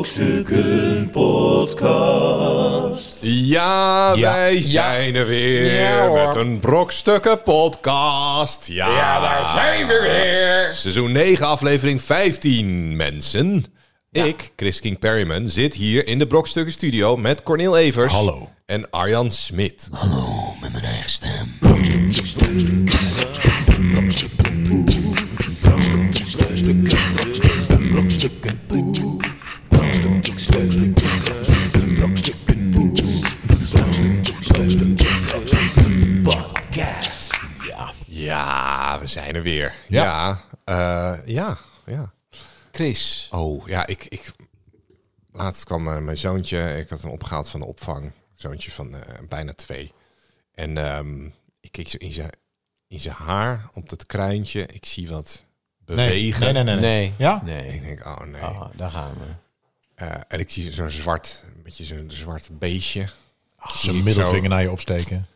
Brokstukken Podcast. Ja, Ja. wij zijn er weer Ja, hoor. met een Brokstukken podcast. Ja. zijn we weer. Seizoen 9, aflevering 15, mensen. Ik, Chris King Perryman, zit hier in de Brokstukken studio met Cornel Evers. Hallo. En Arjan Smit. Met mijn eigen stem. Ja, we zijn er weer. Ja. Ja, eh, ja. ja. Chris. Oh, ja, ik... ik... Laatst kwam eh, mijn zoontje, ik had hem opgehaald van de opvang. Zoontje van eh, bijna twee. En ehm, ik keek zo in zijn, in zijn haar, op dat kruintje. Ik zie wat bewegen. Nee, nee, nee. Nee. Ja? Nee. Ik denk, oh nee. Ah, daar gaan we. Eh, en ik zie zo'n zwart, een beetje zo'n zwart beestje. Zijn middelvinger naar je opsteken.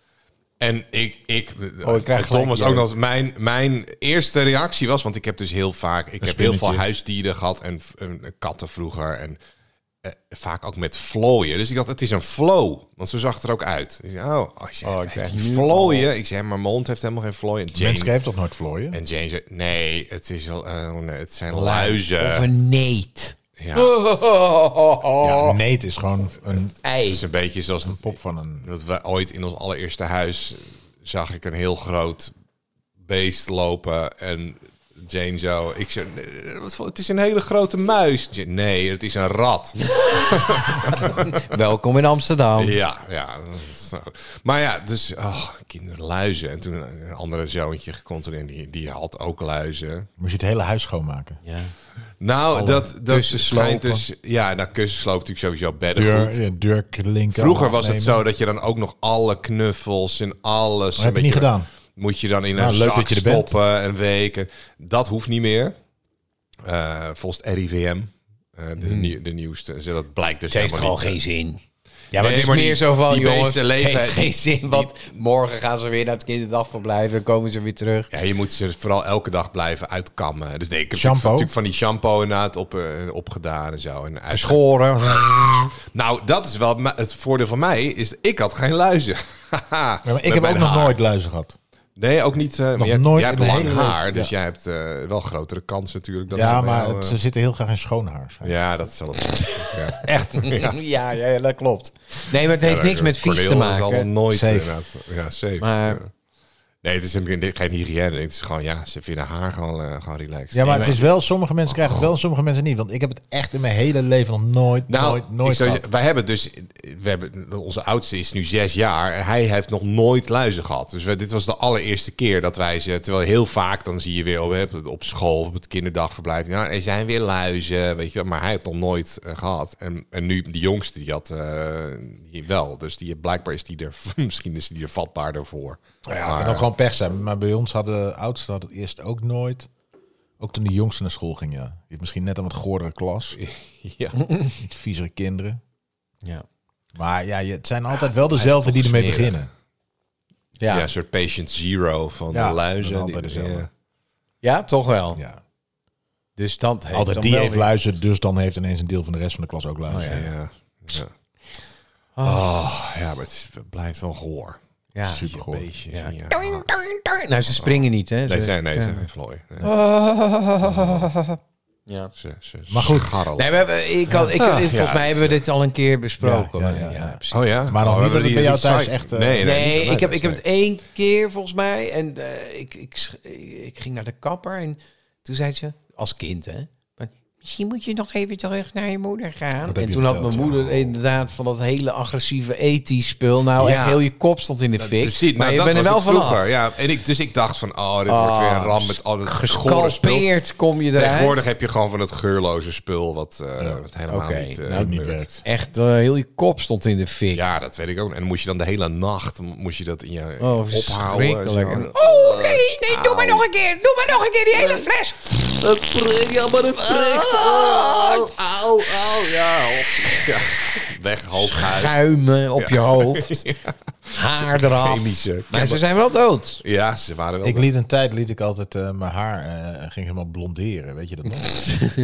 En ik, ik, Oh, krijg gelijk het dom was jeuk. ook nog, mijn, mijn eerste reactie was, want ik heb dus heel vaak, ik heb heel spinnetje. veel huisdieren gehad en, v- en katten vroeger en eh, vaak ook met vlooien. Dus ik dacht, het is een flow, want zo zag het er ook uit. Ik zei, oh, oh, ik zei, Oh, ik heeft krijg die nu vlooien? Ik zei, maar mijn hond heeft helemaal geen vlooien. En Mensen Jane, heeft toch nooit vlooien? en Jane zei, nee, het, is, wel, eh, oh, nee, het zijn luizen. Verneet. Ja, Ja, Oh, nee, het is gewoon een het is een beetje zoals dat pop van een... dat we ooit in ons allereerste huis eh, zag ik een heel groot beest lopen en Jane zo, ik zo, "Nee, wat voor- het is een hele grote muis. Jane, nee, het is een rat. Welkom in Amsterdam. ja, ja. dat is zo. Maar ja, dus oh, kinderluizen. En toen een andere zoontje gecontroleerd, die, die had ook luizen. Moest je het hele huis schoonmaken. Ja. Nou, dat, dat kussens schijnt slopen. dus, ja, nou, kussen sloopt natuurlijk sowieso bedden Deur, ja, deur klinken. Vroeger allemaal was het afnemen. zo dat je dan ook nog alle knuffels en alles. heb je een niet beetje- gedaan. Moet je dan in Nou, een leuk zak dat je er bent. stoppen een week. En dat hoeft niet meer. Eh, volgens het RIVM. eh, de, Hmm. nieuw- de nieuwste. Dus dat blijkt dus Het heeft helemaal gewoon niet. geen zin. Ja, maar Nee, het is maar die- meer zo van, die jongens, beesten het leven- heeft geen zin, want morgen gaan ze weer naar het kinderdagverblijf en komen ze weer terug. Ja, je moet ze vooral elke dag blijven uitkammen. Dus nee, ik heb Shampoo? natuurlijk van die shampoo inderdaad op, eh, opgedaan en zo. En uit- Schoren. Nou, dat is wel ma- het voordeel van mij. Is ik had geen luizen. ja, Ja, maar ik heb ook nog nooit luizen gehad. Nee, ook niet. eh, maar jij, nooit jij hebt in mijn lang hele leven, haar, dus ja. jij hebt eh, wel grotere kans natuurlijk. Dat ja, ze bij maar jou, het- eh, ze zitten heel graag in schoon haar. ja, dat zal het. ja. Echt. Ja. ja, ja, dat klopt. Nee, maar het heeft niks met vies te Cordeel is al maken. nooit Safe. inderdaad. Ja, safe. Maar Ja. Nee, het is een, dit- geen hygiëne. Het is gewoon, ja, ze vinden haar gewoon, eh, gewoon relaxed. Ja, maar het is wel... Sommige mensen krijgen het wel, sommige mensen niet. Want ik heb het echt in mijn hele leven nog nooit, Nou, nooit, nooit ik zou gehad. zeggen, wij hebben dus, we hebben, onze oudste is nu zes jaar en hij heeft nog nooit luizen gehad. Dus we, dit was de allereerste keer dat wij ze, terwijl heel vaak dan zie je weer oh, we hebben het op school, op het kinderdagverblijf, ja, er zijn weer luizen, weet je wel. Maar hij had nog nooit eh, gehad. En, en nu, die jongste, die had eh, die wel. Dus die, blijkbaar is die er, misschien is die er vatbaarder voor. Ja, het Maar- kan ook gewoon pech zijn. Maar bij ons hadden de oudste had het eerst ook nooit. Ook toen de jongste naar school ging, ja. Je hebt misschien net een wat goordere klas. ja. Iets viezere kinderen. Ja. Maar ja, je- het zijn altijd wel dezelfde die ermee smerig. beginnen. Ja. Ja. een soort patient zero van Ja, de luizen. dat is altijd Die- dezelfde. ja. ja, toch wel. Ja. Dus dat heeft Altijd dan die wel heeft weer- luizen, dus dan heeft ineens een deel van de rest van de klas ook Nou, luizen. Ja, ja. Oh, ja, maar het, is- het blijft wel gehoor. Ja. Super goed. Beestjes. Ja. Ja. Nou, ze springen niet, hè? Nee, Ze- nee, nee, ze zijn geen vlooien. Nee, Ja. ze, ze, Maar goed. scharrelen. Nee, we hebben, ik had, ik, Ja, volgens ja, mij hebben we dit al een keer besproken. Ja, Ja, ja, ja, ja. precies. Oh ja? Maar nog niet Oh, we dat het hebben bij die- jou die thuis site- echt, eh, Nee, Nee, nee, ik, heb, ik heb het één keer volgens mij. En eh, ik, ik, sch- ik ging naar de kapper en toen zei ze, als kind hè. van, Misschien moet je nog even terug naar je moeder Dat gaan. heb en je toen had verteld, mijn moeder Oh. inderdaad van dat hele agressieve ethisch spul. Nou, Ja. echt heel je kop stond in de fik. Precies, maar nou, je dat bent er was wel het vroeger. vanaf. Ja, en ik, dus ik dacht van, oh, dit wordt weer een ramp met al dat gore spul. Gescalpeerd kom je eruit. Tegenwoordig heb je gewoon van het geurloze spul, wat, eh, wat helemaal Oké, niet, eh, nou, Niet werkt. werkt. Echt, eh, heel je kop stond in de fik. Ja, dat weet ik ook. En dan moest je dan de hele nacht moest je dat in je Oh, ophouden. verschrikkelijk. zo. Oh, nee, nee, doe maar nog een keer. Doe maar nog een keer die hele fles. Ah. Het prikt, ja, maar het prikt. Au, au, au, ja. op- ja. Weg, hoofd, uit. Schuimen op je hoofd. Haar eraf. Chemische Maar ze zijn wel dood. Ja, ze waren wel... Ik liet een tijd liet ik altijd eh, mijn haar eh, ging helemaal blonderen, weet je dat nog?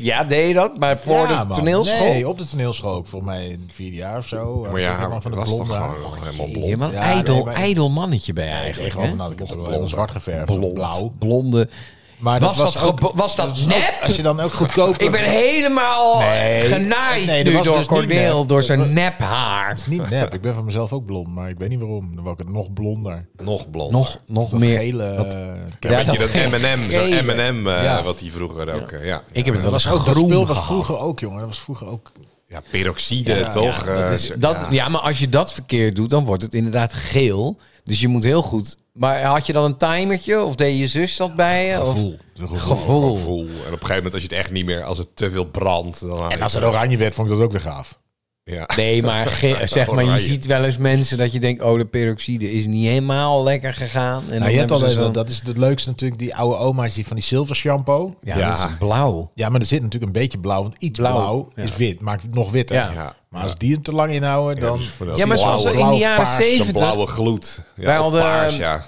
ja, deed je dat? Maar voor Ja, de man. toneelschool? Nee, op de toneelschool ook. Volgens mij in het vierde jaar of zo. maar ja, haar van de was toch blonde haar. gewoon helemaal Jeetje, blond. maar een Ja, ijdel, nee, maar- ijdel mannetje ben je Eigenlijk eigenlijk. gewoon, hè? nou, ik heb er wel blond. helemaal zwart geverfd. of Blond, Blauw. blonde. Maar Was dat, ook- gebo- was dat ook- nep? Als je dan ook goedkoop... Ik ben helemaal Nee. genaaid Nee, dat nu was door dus niet Corneel, nep. door Dat zijn was- nep haar. Niet nep. Ik ben van mezelf ook blond, maar ik weet niet waarom. Dan word ik het nog blonder. Nog blond. Nog, nog Dat meer. gele... Ja, Ja, Ja, weet je dat- dat M&M, zo'n Gele. M&M, eh, Ja. wat die vroeger ook... eh, ja. Ik heb het wel eens dat spul groen was gehad. vroeger ook, jongen. Dat was vroeger ook... Ja, peroxide, Ja, toch? ja, dat Eh, is- zo- Dus Dat, ja. maar als je dat verkeerd doet, dan wordt het inderdaad geel. Dus je moet heel goed... Maar had je dan een timertje? Of deed je zus dat bij je? Of- Gevoel. Gevoel. gevoel. En op een gegeven moment, als je het echt niet meer, als het te veel brandt, dan. En als het oranje werd, vond ik dat ook weer gaaf. Ja. Nee, maar ge- zeg maar, je Oranje. ziet wel eens mensen dat je denkt... oh, de peroxide is niet helemaal lekker gegaan. En dan Nou, je hebt hebben ze altijd, zo'n- wel- dat is het leukste natuurlijk, die oude oma's die van die zilver shampoo. Ja, Ja. dat is blauw. Ja, maar er zit natuurlijk een beetje blauw, want iets Blauw, blauw, is wit, maakt het nog witter. Ja. Ja. Maar als die hem te lang inhouden, dan... Ja, Ja, maar zoals blauwe- in de blauw of jaren paars, zo'n Zo'n zeventig... blauwe gloed. Ja, Wij of hadden, paars, ja.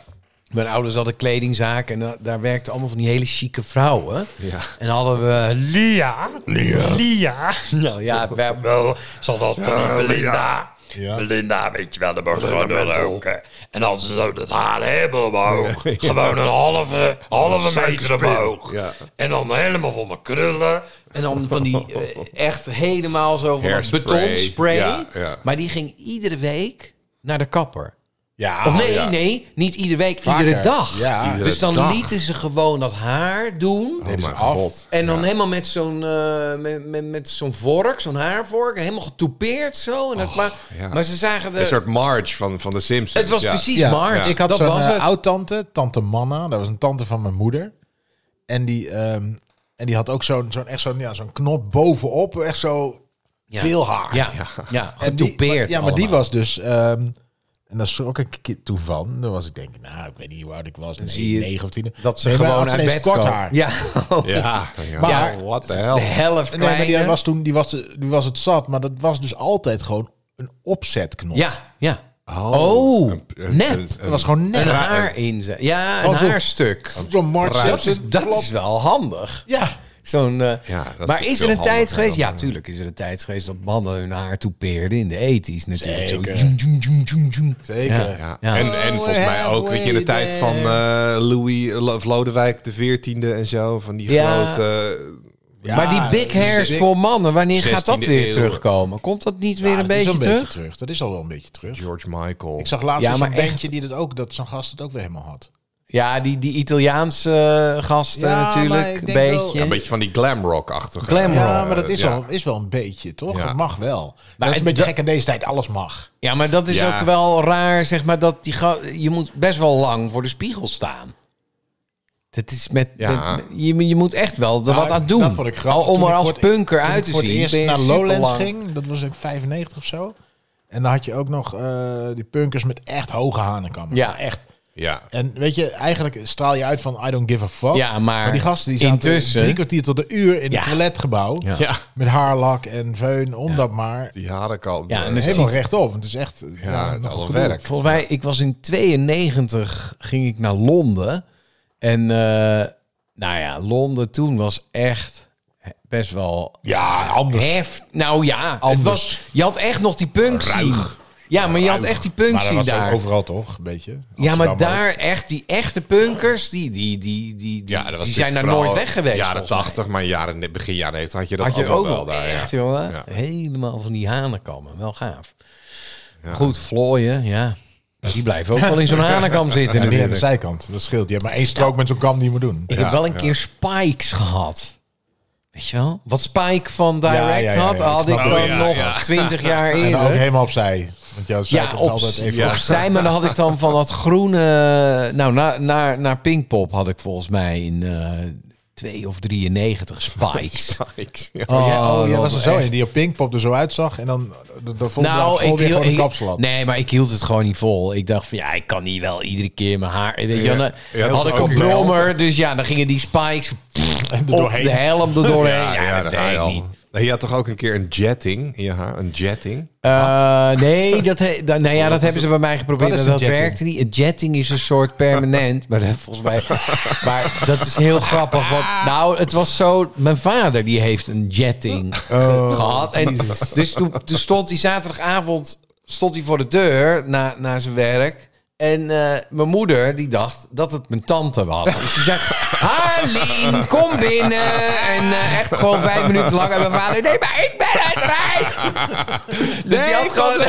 Mijn ouders hadden een kledingzaak en da- daar werkten allemaal van die hele chique vrouwen. Ja. En dan hadden we Lia. Lia. Nou ja, we hebben zoals dat van die Belinda. Linda, weet je wel, dat wordt gewoon wel roken. En als ze zo dat haar hebben omhoog, gewoon een halve, halve meter omhoog. Ja. En dan helemaal vol met krullen. En dan van die eh, echt helemaal zo van dat Hairspray. betonspray. Ja, ja. Maar die ging iedere week naar de kapper. Ja, Of nee, Ah, ja. nee, niet iedere week, Vaker. iedere dag. Ja. Iedere dus dan dag. lieten ze gewoon dat haar doen. Oh mijn af. god. En dan helemaal met zo'n eh, met, met, met zo'n vork, zo'n haarvork, helemaal getoupeerd zo. En dat, maar, ja. maar ze zagen de, Een soort Marge van, van de Simpsons. het was ja. precies Ja, Marge. Ik had dat zo'n was eh, het. oud-tante, tante Manna. Dat was een tante van mijn moeder. En die, ehm, en die had ook zo'n zo'n echt zo'n ja, zo'n knop bovenop. Echt zo Ja. veel haar. ja, ja, En die- getoupeerd. maar- Ja, maar die allemaal. was dus... ehm, en daar schrok ik ki- toen van. Dan was ik denk, ik, nou, ik weet niet hoe oud ik was. zie je Nee, 9 of 10. dat ze Nee, maar gewoon had uit ineens bed kort komen. haar. Ja, Ja, ja. Maar- Ja, what the de hell. helft Nee, maar kleiner. die was toen die was, die was het zat. Maar dat was dus altijd gewoon een opzetknop. Ja, ja. Oh, een- een- nep. een- Dat was gewoon net. een haar inzet. Ja, een Gewoon zo- haarstuk. Zo'n Marge Dat is, Simpson dat Oh, flap. is wel handig. Ja. Zo'n, eh, Ja, dat is maar natuurlijk is er veel een tijd handiger geweest? dan, Ja, tuurlijk is er een tijd geweest dat mannen hun haar toepeerden in de ethisch natuurlijk. Zo, Zeker. joem, joem, joem, joem, joem. Zeker. Ja. Ja. En, en volgens mij ook, weet je, in de tijd van eh, Louis of Lodewijk de 14e en zo, van die Ja. grote. eh, Ja, dus maar die big hairs voor mannen, wanneer gaat dat 16e weer eeuw. terugkomen? Komt dat niet weer Ja, een dat is beetje al terug? Dat is al wel een beetje terug. George Michael. Ik zag laatst Ja, dus maar een echt- bandje die dat ook, dat zo'n gast het ook weer helemaal had. Ja, die, die Italiaanse eh, gasten Ja, maar natuurlijk. ik Een denk wel- beetje. Ja, een beetje van die glamrock-achtige. Glam rock. Ja, maar dat is, ja. wel, is wel een beetje, toch? Ja. Dat mag wel. dat het- is een beetje Nou, dat- gek in deze tijd, alles mag. Ja, maar dat is Ja. ook wel raar, zeg maar, dat die ga- je moet best wel lang voor de spiegel staan. Dat is met, Ja. met- je, je moet echt wel er wat Nou, aan doen. dat vond ik grappig. Al om Toen er ik als voor het- e- punker Toen uit ik te voor het zien. eerst ben je naar Lowlands superlang. ging, dat was in 95 of zo. En dan had je ook nog eh, die punkers met echt hoge hanenkammen. Ja. echt. Ja. En weet je, eigenlijk straal je uit van I don't give a fuck. Ja, Oh, maar die gasten die zaten intussen- drie kwartier tot een uur in Ja. het toiletgebouw. Ja. Ja. Met haarlak en veun, om dat maar. Die haren al. Ja, en het Helemaal ziet- rechtop. Het is echt ja, het nog alle gedoe. werk. Volgens mij, ik was in 92, ging ik naar Londen. En eh, nou ja, Londen toen was echt best wel Ja, anders. heft. Nou ja, het Anders. was, je had echt nog die punk scene. Ja, maar je had echt die punk Maar dat scene was daar. ook overal toch, een beetje. Ja, Amsterdam maar ook. daar echt, die echte punkers, die, die, die, die, die, Ja, dat was die zijn natuurlijk daar nooit vooral weg geweest. Jaren volgens mij. 80, maar jaren, begin jaren 90 had je dat Had je ook, ook wel wel daar. echt, ja. jongen. Ja. Helemaal van die hanenkam. Wel gaaf. Goed, vlooien, ja. Die blijven ook wel in zo'n hanenkam zitten. Ja, die aan de natuurlijk. zijkant, dat scheelt. Je hebt maar één strook met zo'n kam die je moet doen. Ik heb wel een keer spikes gehad. Weet je wel? Wat Spike van Direct Ja, ja, ja, ja, had, ik had ik snap dan het. Oh, ja, nog ja. twintig jaar En dan ook eerder. helemaal opzij. Want jouw Ja, zijkant is op, altijd even... ja. opzij. Maar dan had ik dan van dat groene... Nou, naar, naar, naar Pinkpop had ik volgens mij in eh 2 of 93 Spikes. Spikes. Ja. Oh, jij- oh, jij dat was er zo echt- in die op Pinkpop er zo uitzag. En dan eh, dan vond Nou, ik ik, weer hield- gewoon een ik- kapsel had. nee, maar ik hield het gewoon niet vol. Ik dacht van ja, ik kan niet wel iedere keer mijn haar. Weet Ja. je, wel, dan Ja, dat had is ik een ook wel. brommer, dus ja, dan gingen die spikes En er op de doorheen. helm er doorheen. Ja, Ja, ja, dat daar ga je deed ik al. niet. Heb En je had toch ook een keer een jetting in je haar? Een jetting? Eh, nee, dat, he- da- nou ja, dat hebben ze bij mij geprobeerd. Wat En is dat een jetting? werkte niet. Een jetting is een soort permanent. Maar dat, volgens mij. Maar dat is heel grappig. Want, nou, het was zo. Mijn vader die heeft een jetting Oh. ge- gehad. En dus toen, toen stond hij zaterdagavond stond hij voor de deur na, na zijn werk. En eh, mijn moeder die dacht dat het mijn tante was. Dus ze zei: Harleen, kom binnen. En eh, echt gewoon vijf minuten lang. En mijn vader: Nee, maar ik ben het Rijn. Dus die had gewoon...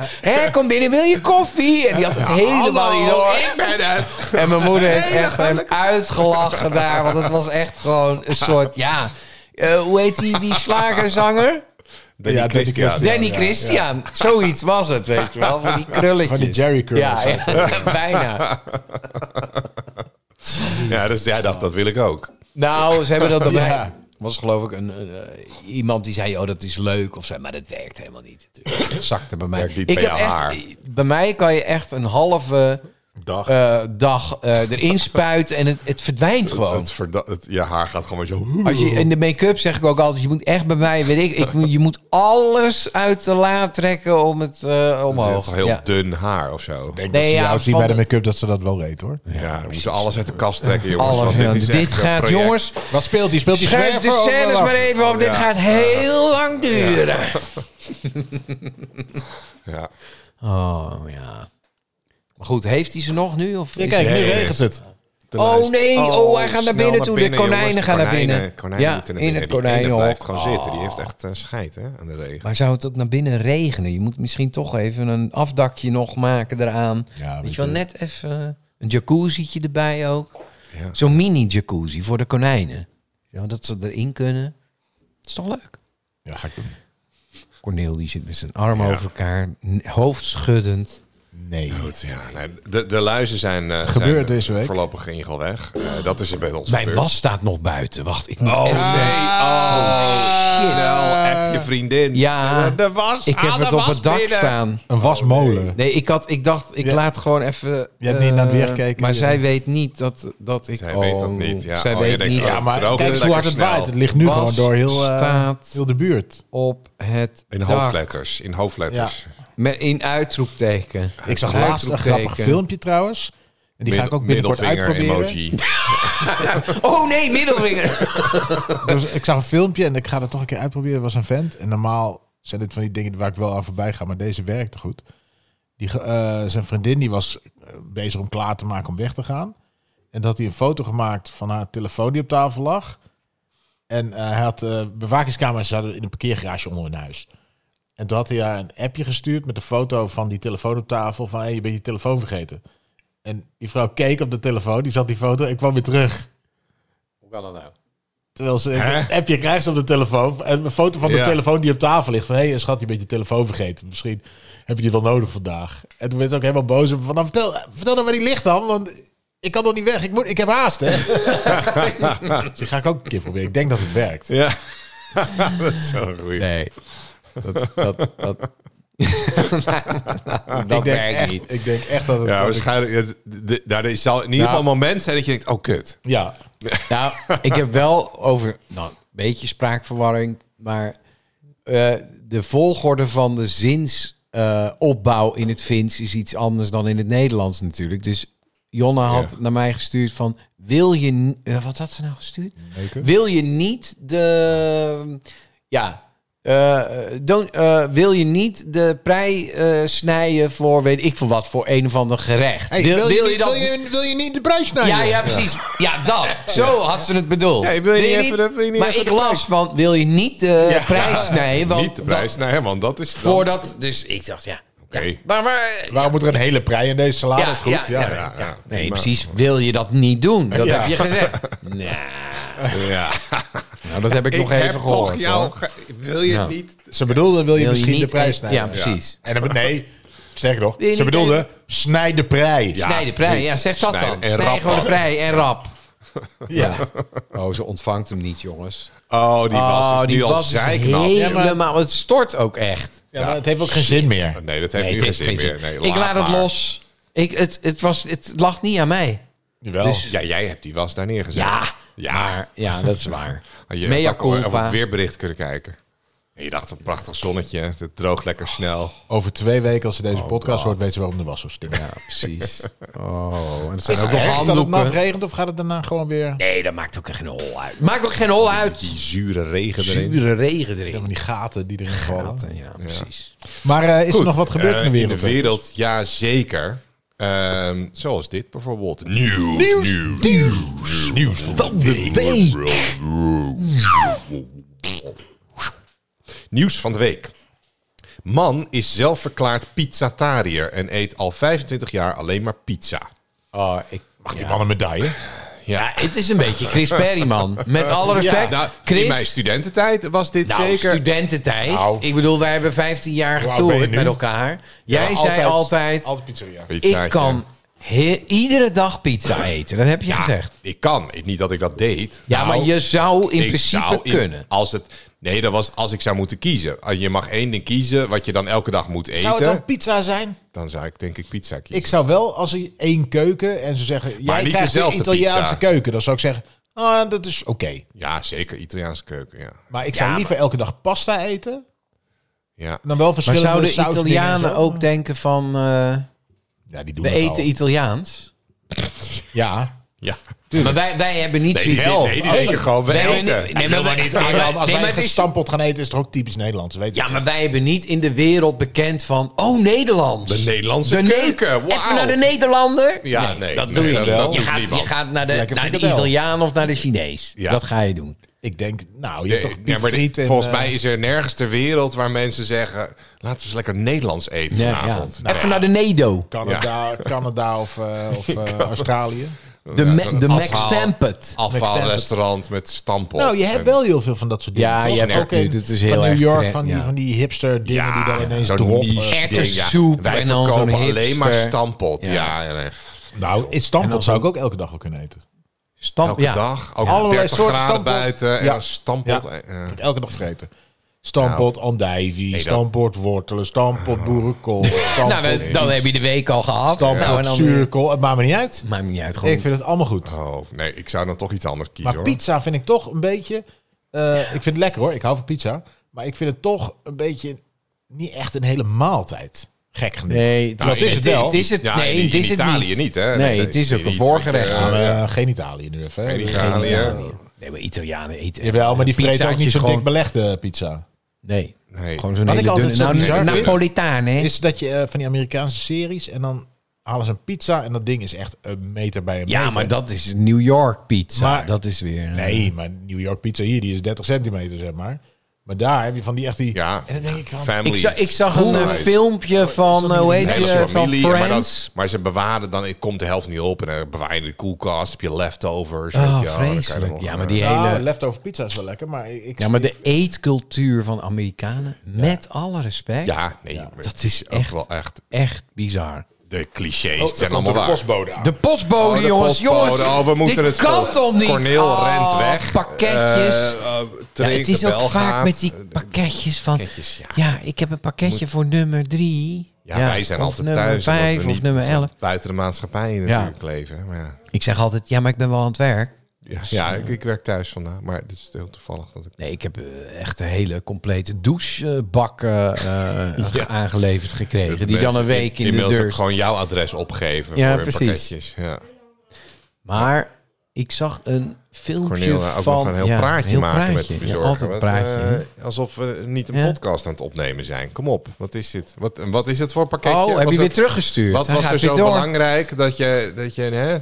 Hé, kom binnen, wil je koffie? En die had het helemaal niet door. ik ben het. En mijn moeder heeft echt hem uitgelachen daar. Want het was echt gewoon een soort, ja... eh, hoe heet die, die slagerzanger? Danny Ja, Danny Christian. Christian. Danny Christian. Zoiets was het, weet je wel. Van die krulletjes. Van die Jerry curls. Ja, ja, bijna. Ja, dus jij dacht, dat wil ik ook. Nou, ze hebben dat bij mij... Ja. was geloof ik een, eh, iemand die zei, oh, dat is leuk of zo. Maar dat werkt helemaal niet. natuurlijk. Het zakte bij mij. Werkt niet ik bij heb jouw echt, haar. Bij mij kan je echt een halve... Dag. eh, dag eh, erin spuiten en het, het verdwijnt gewoon. Het verda- het, je haar gaat gewoon zo... Als je, in de make-up zeg ik ook altijd, je moet echt bij mij, weet ik, ik moet- je moet alles uit de la trekken om het eh, Het is omhoog. toch heel ja. dun haar of zo. Ik denk nee, dat ze ja, jou zien van bij de de- make-up dat ze dat wel weet hoor. Ja, we moeten alles uit de kast trekken, jongens. Alles, want ja. dit is dit, echt een gaat, project. jongens, Wat speelt hij? eh, Speelt hij schrijf de scènes maar even op, dit Oh, Ja. gaat heel lang duren. Ja. Oh, ja. Maar goed, heeft hij ze nog nu? Of is- kijk, nu Nee. regent het. Oh nee, oh, hij gaat naar snel binnen toe. de konijnen jongens. gaan naar binnen. Konijnen, konijnen ja, moeten naar in binnen. het Die ene konijnenhok. blijft gewoon zitten. Die heeft echt eh, scheid hè, aan de regen. Maar zou het ook naar binnen regenen? Je moet misschien toch even een afdakje nog maken eraan. Ja, weet weet je wel, je. net even een jacuzzietje erbij ook. Ja. Zo'n mini-jacuzzi voor de konijnen. Ja, dat ze erin kunnen. Dat is toch leuk? Ja, ga ik doen. Corneel die zit met zijn armen over elkaar, n- hoofd schuddend. Nee. Goed, ja. nee, de, de luizen zijn, eh, Gebeurd zijn deze week. voorlopig in ieder geval weg. Eh, dat is er bij ons Mijn gebeurd. was staat nog buiten. Wacht, ik moet Oh nee, echt... Ah, oh shit. snel, app je vriendin. Ja, Eh, de was, Ik heb ah, de het op was het dak binnen. staan. Een wasmolen. Nee, ik, had, ik dacht, ik Je- laat gewoon even... eh, je hebt niet naar het weer gekeken, Maar je- zij weet niet dat, dat ik... Zij weet dat niet, ja. Zij Oh, je weet denkt, niet. oh, Ja, maar Droog kijk en eens hoe hard lekker het snel. waait. Het ligt nu Was gewoon door heel, eh, staat- heel de buurt. op het In dak. hoofdletters, in hoofdletters. Met in uitroepteken. Ik zag laatst een grappig Uitroepteken. filmpje trouwens. En die ga ik ook binnenkort uitproberen. emoji. Oh nee, middelvinger. Dus ik zag een filmpje en ik ga dat toch een keer uitproberen. Er was een vent. En normaal zijn dit van die dingen waar ik wel aan voorbij ga, maar deze werkte goed. Die, ge- eh, zijn vriendin die was eh, bezig om klaar te maken om weg te gaan. En dat hij een foto gemaakt van haar telefoon die op tafel lag. En eh, hij had eh, bewakingscamera's zaten in een parkeergarage onder hun huis. En toen had hij haar een appje gestuurd met een foto van die telefoon op tafel. Van, hey, je bent je telefoon vergeten. En die vrouw keek op de telefoon, die zat die foto en kwam weer terug. Hoe kan dat nou? Terwijl ze Hè? een appje krijgt op de telefoon. En een foto van de Ja. telefoon die op tafel ligt. Van, hé hey, eh, schat, je bent je telefoon vergeten. Misschien heb je die wel nodig vandaag. En toen werd ze ook helemaal boos. op, Van, nou, vertel, vertel dan waar die ligt dan. Want ik kan nog niet weg. Ik, moet, ik heb haast, hè. dus die ga ik ook een keer proberen. Ik denk dat het werkt. Ja, dat is wel goed. Nee. Dat, dat, dat, nou, dat ik denk werkt echt, niet. Ik denk echt dat het... Ja, dat ik- waarschijnlijk. het- de- Daar is- zal in ieder geval een moment zijn dat je denkt: oh, kut. ja. Nou, ik heb wel over nou, een beetje spraakverwarring, maar eh, de volgorde van de zinsopbouw eh, in het Fins is iets anders dan in het Nederlands natuurlijk. Dus Jonna had Ja. naar mij gestuurd van, wil je... ni- eh, wat had ze nou gestuurd? Wil je niet de... Ja. eh, don't- eh, wil je niet de prei eh, snijden voor weet ik veel wat, voor een of ander gerecht? Hey, wil, wil je, niet- dat wil, je, wil je niet de prijs snijden? ja, ja, precies. Ja, dat. Zo had ze het bedoeld. Ja, wil je niet even de- wil je niet maar even ik de las van, wil je niet de prijs snijden? Want Niet de prijs. dat- Nee, want dat is. dan- voordat, dus ik dacht, ja. Oké. Maar, maar Waarom moet er een hele prij in deze salade? Ja, is goed. ja, Ja, ja. Ja, ja, nee, prima. precies, wil je dat niet doen? Dat Ja. heb je gezegd. Nou, Ja. nou, dat heb ik, Ik nog heb even toch gehoord. jou. hoor. ge- Wil je Ja. niet. Ze bedoelde, wil je Wil je misschien niet de prijs e- snijden? Ja, precies. En dan, nee, sterker nog, Wil je ze niet bedoelde, snij de prij. Ja, Snij de prij, precies. ja, zeg dat Snij dan. en Snij rap gewoon de af. prij en rap. Ja. Oh, ze ontvangt hem niet, jongens. Oh, die was oh, is die nu al was is zijknap. Ja, helemaal... Het stort ook echt. Ja, maar het heeft ook geen zin meer. Nee, dat heeft Nee, nu het geen heeft zin geen meer. zin. Nee, ik laat het maar. los. Ik, het, het, was, het lag niet aan mij. Jawel. Dus- Oh, Ja, jij hebt die was daar neergezet. Ja, Ja. ja dat is waar. Je Mea had ook al- culpa. Of op weerbericht kunnen kijken. En je dacht, een prachtig zonnetje. Het droogt lekker snel. Over twee weken, als ze deze podcast hoort, weet ze waarom de was zo stinkt. Oh, Ja, precies. Oh, en er zijn Is ook het echt dat nog het nat handdoeken. regent of gaat het daarna gewoon weer... Nee, dat maakt ook geen hol uit. Maakt ook geen hol uit. Die zure regen erin. Zure regen Van erin. die gaten die erin vallen. Gaten, ja, precies. Maar eh, is Goed, er nog wat gebeurd eh, in de wereld? In de wereld, ja zeker. Ehm, zoals dit bijvoorbeeld. Nieuws. Nieuws. Nieuws. Nieuws van de week. Nieuws van de week. Man is zelfverklaard pizzatariër en eet al 25 jaar alleen maar pizza. Oh, ik... Mag die man een medaille? Ja, het is een beetje Chris Perry, man. Met alle respect. Nou, Chris, in mijn studententijd was dit Nou, zeker. studententijd. Nou. Ik bedoel, wij hebben 15 jaar oud ben je getoerd nu? met elkaar. Jij zei altijd, Altijd pizzeria. Pizzaatje. ik kan he- iedere dag pizza eten. Dat heb je Ja, gezegd. Ik kan. Ik- Niet dat ik dat deed. Ja, Nou, maar je zou in ik principe zou in- kunnen. Als het, nee, dat was als ik zou moeten kiezen. Als Je mag één ding kiezen wat je dan elke dag moet eten. Zou het dan dan... pizza zijn? zou ik denk ik pizza kiezen. Ik zou wel, als hij één keuken en ze zeggen... Jij niet krijgt de dezelfde Italiaanse pizza. keuken. Dan zou ik zeggen, ah, dat is oké. Ja, zeker. Italiaanse keuken, ja. Maar ik zou Ja, liever elke dag pasta eten... ja. dan wel Maar verschillende zouden sausdingen en Italianen zo. ook denken van, eh, Ja, die doen we het al. eten Italiaans? Ja. ja. Maar wij, wij hebben niet Nee, die, zoiets- nee, die denken gewoon, we Wij hebben eten. niet- Oh. Nee, maar wij- Ja, maar nee, maar als wij het een is- stampot gaan eten, is het toch ook typisch Nederlands? Weet je Ja, maar wij hebben niet in de wereld bekend van... Oh, Nederlands. De Nederlandse De Ne- keuken, wauw. Even naar de Nederlander. Ja, nee, dat nee, doe je dat- niet. dat je, doet gaat, niemand. je gaat naar de, Lekker naar de frikandel. Italiaan of naar de Chinees. Ja. Dat ga je doen. Ik denk, nou, je Nee, hebt toch ja, Piet maar Friet dit- en, volgens eh, mij is er nergens ter wereld waar mensen zeggen... laten we eens lekker Nederlands eten Ja, ja. vanavond. Nou Even naar de Nedo. Canada, Canada of, eh, of eh, Australië. De, me- zo'n de Mac afhaal. Stampet. Afvalrestaurant met stampot. nou, je hebt wel heel veel van dat soort dingen. Ja, toch? je hebt Ook ook- in- dit is heel van erg New York, trend, van, die, ja. van die hipster dingen die dan ineens droppen. Erwtensoep Wij en dan zo'n verkopen alleen hipster. maar stampot. Ja. Ja, ja, nee. Nou, in En dan stampot zou ik zo'n- ook elke dag wel kunnen eten. Stamp, elke ja. Nou, dag. Ook Allerlei 30 soorten graden stampot. buiten. En Ja. dan stampot. Ja. eh, eh. Ik elke dag vreten. Stampot andijvie, dat- stampot wortelen, stampot boerenkool, stampot, Nou, dan, dan heb je de week al gehad. Oh. stampot nou, en dan weer- zuurkool. Het maakt me niet uit. Maakt me niet uit. Gewoon. Ik vind het allemaal goed. Oh, nee, ik zou dan toch iets anders kiezen, Maar hoor. pizza vind ik toch een beetje. eh, Ik vind het lekker hoor, ik hou van pizza. Maar ik vind het toch een beetje. niet echt een hele maaltijd. Gek genoeg. Nee, het Nou, is, in- het, wel. Het is het, Ja, nee, in- het in is het Italië niet. niet, hè? Nee, Nee, het is nee, ook een iets wat je- voorgerecht. Ja, Maar, ja. eh, geen Italië nu even. hè. Geen Dus- Italië. Nee, maar Italianen eten... Jawel, maar die vreten ook niet pizzaatjes zo gewoon- dik belegde pizza. Nee, Nee. gewoon zo'n Wat hele ik altijd dunne... zo Nou, bizar vind- Napolitaan, hè? Is dat je eh, van die Amerikaanse series en dan halen ze een pizza en dat ding is echt een meter bij een meter. Ja, maar dat is New York pizza. Maar- dat is weer... eh, Nee, maar New York pizza hier, die is 30 centimeter, zeg maar. Maar daar heb je van die echt die... Ja, En dan denk ik van... family. Ik, zag ik zag een eh, Nice. filmpje van, eh, hoe heet Hele je, van familie, maar, dan, Friends. maar ze bewaren dan, het komt de helft niet op en dan bewaar je in de koelkast, heb je leftovers. weet Oh, je wel, dan kan je er vreselijk. nog, Ja, eh, maar die Nou, hele... leftover pizza is wel lekker, maar ik... Ja, maar de eetcultuur van Amerikanen, met alle respect, ja, nee, maar dat is ook echt, wel echt echt bizar. de clichés Oh, daar zijn komt allemaal de waar. postbode aan. De postbode, Oh, de jongens, postbode. jongens. Oh, we moeten dit het kan vol- toch niet? Corneel Oh, rent weg. Pakketjes. Eh, eh, ja, Trink het is de ook bel vaak gaat. Eh, met die pakketjes van... Pakketjes, ja. ja. ik heb een pakketje voor nummer drie. Ja, wij zijn of altijd nummer thuis omdat vijf we of niet nummer elf. buiten de maatschappij natuurlijk leven. Maar ja, Ik zeg altijd, ja, maar ik ben wel aan het werk. ja, ja, ik, ik werk thuis vandaag, maar het is heel toevallig dat ik... Nee, ik heb eh, echt een hele complete douchebak eh, eh, ge- aangeleverd gekregen. dat die dan mensen een week in de inmiddels ook deur. gewoon jouw adres opgeven Ja, voor hun precies. pakketjes. Ja, Maar ik zag een filmpje Cornel, eh, ook van... nog een heel ja, praatje heel maken met praatje. de Ja, bezorger. altijd Want, een praatje. eh, hè? alsof we niet een Ja. podcast aan het opnemen zijn. Kom op, wat is dit? Wat, en wat is het voor pakketje? oh, heb eh, Was je weer het- teruggestuurd? Wat Hij was gaat er weer zo door. belangrijk dat je... Dat je hè?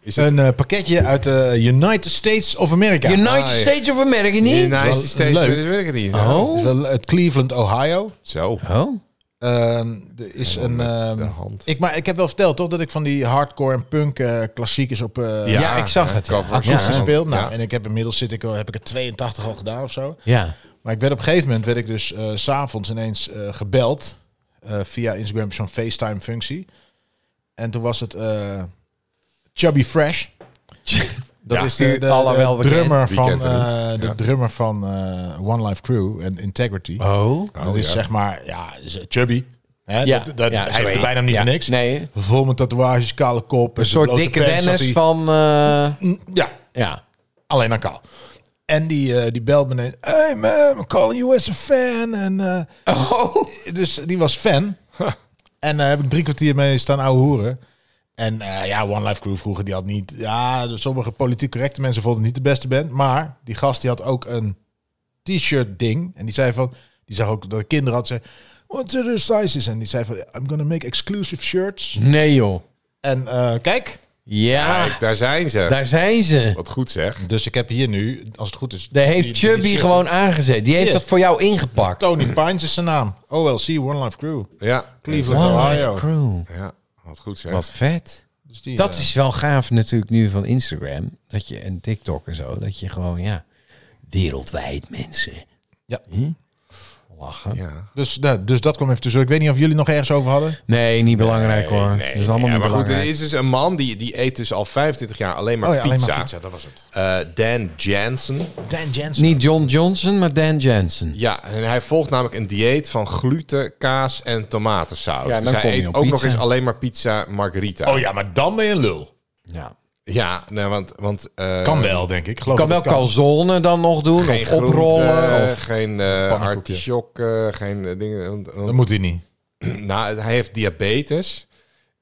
Is het Een eh, pakketje uit de United States of America. United Ah, ja. States of America niet? Nee, nou, Wel is die steeds leuk. dat weet ik niet. Dus Oh. wel uit Cleveland, Ohio. Zo. Oh. Ehm, er is En dan een. met ehm, de hand. Ik, maar ik heb wel verteld toch dat ik van die hardcore en punk eh, klassiekers op. eh ja. Ja, ik zag hè, het, ja. covers. Ja. Gespeeld. Nou, Ja. en ik heb inmiddels zit ik al, heb ik er 82 al gedaan of zo. Ja. Maar ik werd op een gegeven moment werd ik dus eh, s s'avonds ineens eh, gebeld. eh, via Instagram zo'n FaceTime functie. En toen was het eh, Chubby Fresh. Dat Ja. is de, de, Alhoewel de bekend. drummer Wie van, kent hem eh, niet? de Ja. drummer van eh, One Life Crew en Integrity. Oh. dat is ja. zeg maar, ja, is- eh, chubby. Hè, Ja, dat, dat, ja, hij zo heeft heet er bijna hij. niet Ja, voor niks. nee. Vol met tatoeages, kale kop. Een soort dikke Dennis van... eh, Mm, Ja, ja. alleen dan kaal. En die, eh, die belt me ineens. Hey man, I'm calling you as a fan. En, eh, Dus die was fan. en daar heb ik drie kwartier mee staan ouwe hoeren. En eh, ja, One Life Crew vroeger, die had niet... Ja, sommige politiek correcte mensen vonden het niet de beste band. Maar die gast die had ook een t-shirt ding. En die zei van... Die zag ook dat ik kinderen had. Zei, What are the sizes? En die zei van... I'm gonna make exclusive shirts. Nee, joh. En eh, kijk. Ja, Kijk, daar zijn ze. Ah, daar zijn ze. Wat goed zeg. Dus ik heb hier nu, als het goed is... Daar die- heeft die Chubby shirts. gewoon aangezet. Die heeft Ja. dat voor jou ingepakt. Tony Pines is zijn naam. OLC, One Life Crew. Ja. Cleveland, One Life Ohio. Crew. Ja, wat goed zeg. Wat vet. Dus die, Dat eh, is wel gaaf natuurlijk nu van Instagram. Dat je, en TikTok en zo. Dat je gewoon, ja, wereldwijd mensen. Ja. Hm? Lachen. Ja. Dus, nou, dus dat kwam even tussen. Ik weet niet of jullie nog ergens over hadden. Nee, niet belangrijk hoor. Nee, dat is allemaal ja, niet maar goed, belangrijk. er is dus een man die, die eet dus al 25 jaar alleen maar Oh ja, alleen pizza. maar pizza, dat was het. Eh, Dan Jansen. Dan Jensen. Niet John Johnson, maar Dan Jensen. Ja, en hij volgt namelijk een dieet van gluten, kaas en tomatensaus. Ja, dus dan kom hij je eet ook op nog pizza. eens alleen maar pizza margarita. Oh ja, maar dan ben je een lul. Ja. Ja, nee, want... want eh, Kan wel, denk ik. Geloof Kan dat wel calzone dan nog doen, Geen of groente, oprollen. of, geen eh pannenkoekje. artichok, eh, geen eh, dingen. want- want- Dat moet hij niet. Nou, hij heeft diabetes.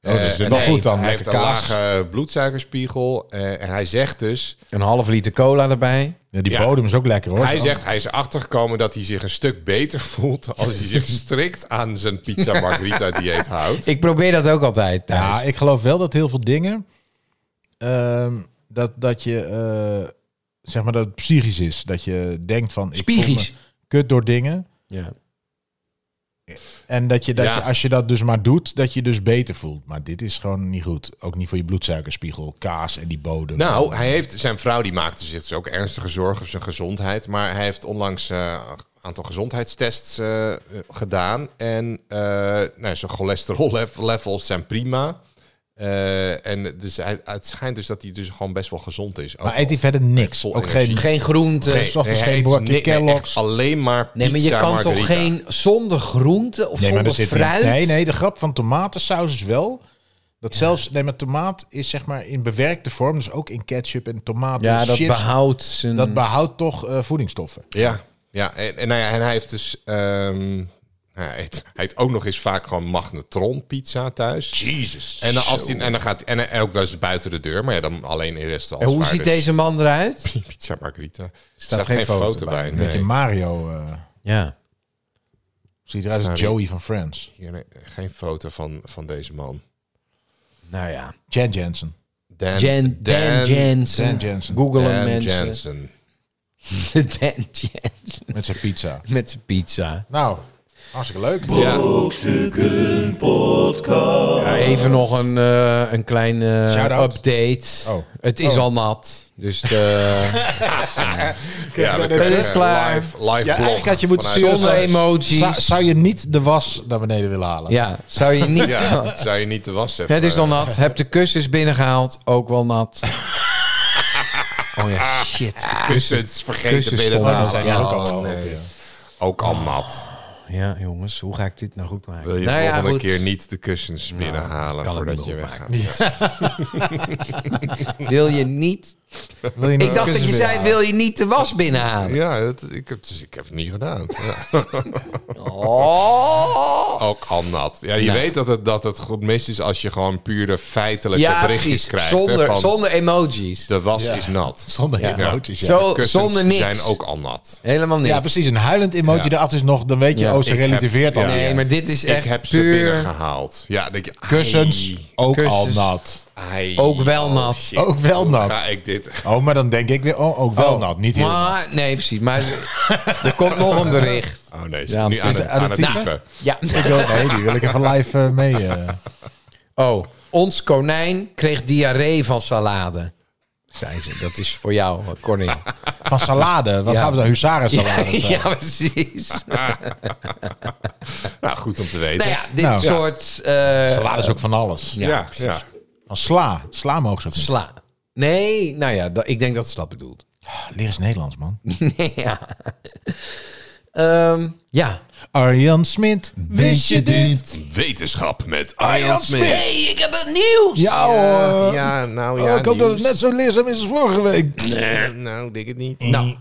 Oh, dat is Eh, dus en wel hij- goed dan. Hij heeft Lekker een kaas. lage bloedsuikerspiegel. eh, en hij zegt dus... een half liter cola erbij. Ja, die Ja. bodem is ook lekker hoor. Hij Zo. zegt, hij is erachter gekomen dat hij zich een stuk beter voelt... als hij zich strikt aan zijn pizza margarita dieet houdt. Ik probeer dat ook altijd thuis. Ja, ik geloof wel dat heel veel dingen. ehm, dat, dat je. eh, zeg maar dat het psychisch is. Dat je denkt van. Ik voel Psychisch? me kut door dingen. Ja. En dat, je, dat Ja. je, als je dat dus maar doet, dat je dus beter voelt. Maar dit is gewoon niet goed. Ook niet voor je bloedsuikerspiegel, kaas en die bodem. Nou, hij heeft, zijn vrouw die maakte zich dus ook ernstige zorgen over zijn gezondheid. Maar hij heeft onlangs eh, een aantal gezondheidstests eh, gedaan. En eh, nou, zijn cholesterol lev- levels zijn prima. Eh, en dus hij, het schijnt dus dat hij dus gewoon best wel gezond is. Ook maar eet al- hij verder niks. Vol Ook energie. geen, Geen groente. Nee, Nee, s ochtends hij geen eet blokje ni- nee, Kellogg's. echt alleen maar pizza maar je kan toch margarita. geen zonder groente of Nee, maar er zonder zit in- fruit? nee, nee, de grap van tomatensaus is wel. Dat zelfs, nee, maar tomaat is zeg maar in bewerkte vorm, dus ook in ketchup en tomaten. Ja, dat mm. chips, behoudt zijn... dat behoudt toch eh, voedingsstoffen. Ja, ja. En, en, nou ja, en hij heeft dus... ehm, hij, eet, hij eet ook nog eens vaak gewoon magnetron pizza thuis. Jesus. En dan, als die, en dan gaat en, en ook wel eens buiten de deur, maar ja, dan alleen in restaurants. en hoe waar ziet dus deze man eruit? pizza margarita? Er staat, geen, foto, bij. Een nee. beetje Mario. eh Ja. ziet eruit als Sorry. Joey van Friends. Hier, nee, geen foto van, van deze man. Nou ja. Jan Jensen. Dan, Jan, Dan, Jensen. Dan Jensen. Google Dan hem mensen. Jensen. Dan Jensen. Met zijn pizza. Met zijn pizza. Nou, hartstikke leuk. Ja, Brokstukken Podcast. Even nog een, eh, een kleine Oh. Shout-out. update. Oh. Het is Oh. al nat. Dus de, ja, we Het kunnen is klaar. Live, live Ja, blog eigenlijk had je moeten vanuit- sturen. zonder emoties. Zou, zou je niet de was naar beneden willen halen? ja, zou je niet... Ja, zou je niet te eh, wassen. Het Eh. is al nat. Heb de kussens binnengehaald. Ook wel nat. Oh ja, shit. Kussens vergeten Kussens binnen te stonden halen. er zijn ook Oh, al wel nee. over, ja. Ook al nat. Ja, jongens, hoe ga ik dit nou goed maken? Wil je nou ja, volgende goed. Nou, keer niet de kussens binnenhalen kan ik voordat niet je opmaken. weggaat? Wil je niet... Wil je nou Ik dacht dat je kussens zei, willen wil je niet de was binnenhalen? Ja, dat, ik, heb, dus ik heb het niet gedaan. Ja. Oh. Ook al nat. Ja, je Nou. weet dat het, dat het goed mis is als je gewoon pure feitelijke Ja, berichtjes precies. krijgt. hè, Zonder, van zonder emojis. De was is nat. Zonder Ja. emoties, ja. Zo, Kussens zonder niks. zijn ook al nat. Helemaal niks. Ja, precies. Een huilend emotie Ja. erachter is nog, dan weet je, Ja. oh, ze Ik heb- relativeert al. Ja. Nee, maar dit is echt ik heb ze puur... binnengehaald. Ja, denk je, ai, Kussens, ook al Kussens. nat. ai, Ook wel nat. shit, Ook wel hoe nat. Ga ik dit? Oh, maar dan denk ik weer, oh, ook wel nat. Niet heel nat. Maar, nee, precies. Maar er komt nog een bericht. Oh nee, ze Ja, is nu aan is het, het aan aan het het typen? typen. Ja. Ik wil, nee, die wil ik even live eh, mee. eh. Oh, ons konijn kreeg diarree van salade. Zei ze. Dat is voor jou, Cornel. Van salade. Wat Ja. gaan we dan? Huzaren Ja, salade. ja, precies. Nou, goed om te weten. Nou ja, dit Nou. soort eh, Salade is ook van alles. ja, ja, Van sla. Sla mogen ze ook niet. sla. Nee, nou ja, dat- ik denk dat ze dat bedoelt. Leer eens Nederlands, man. ja. Ehm, ja. Arjan Smit, wist je dit? Wetenschap met Arjan Ion Smith. Smit. ik heb het nieuws! Ja hoor. Eh, Ja, nou ja. Oh, ik hoop dat het nieuws. net zo leerzaam is als vorige week. Nou, denk het niet. Nou,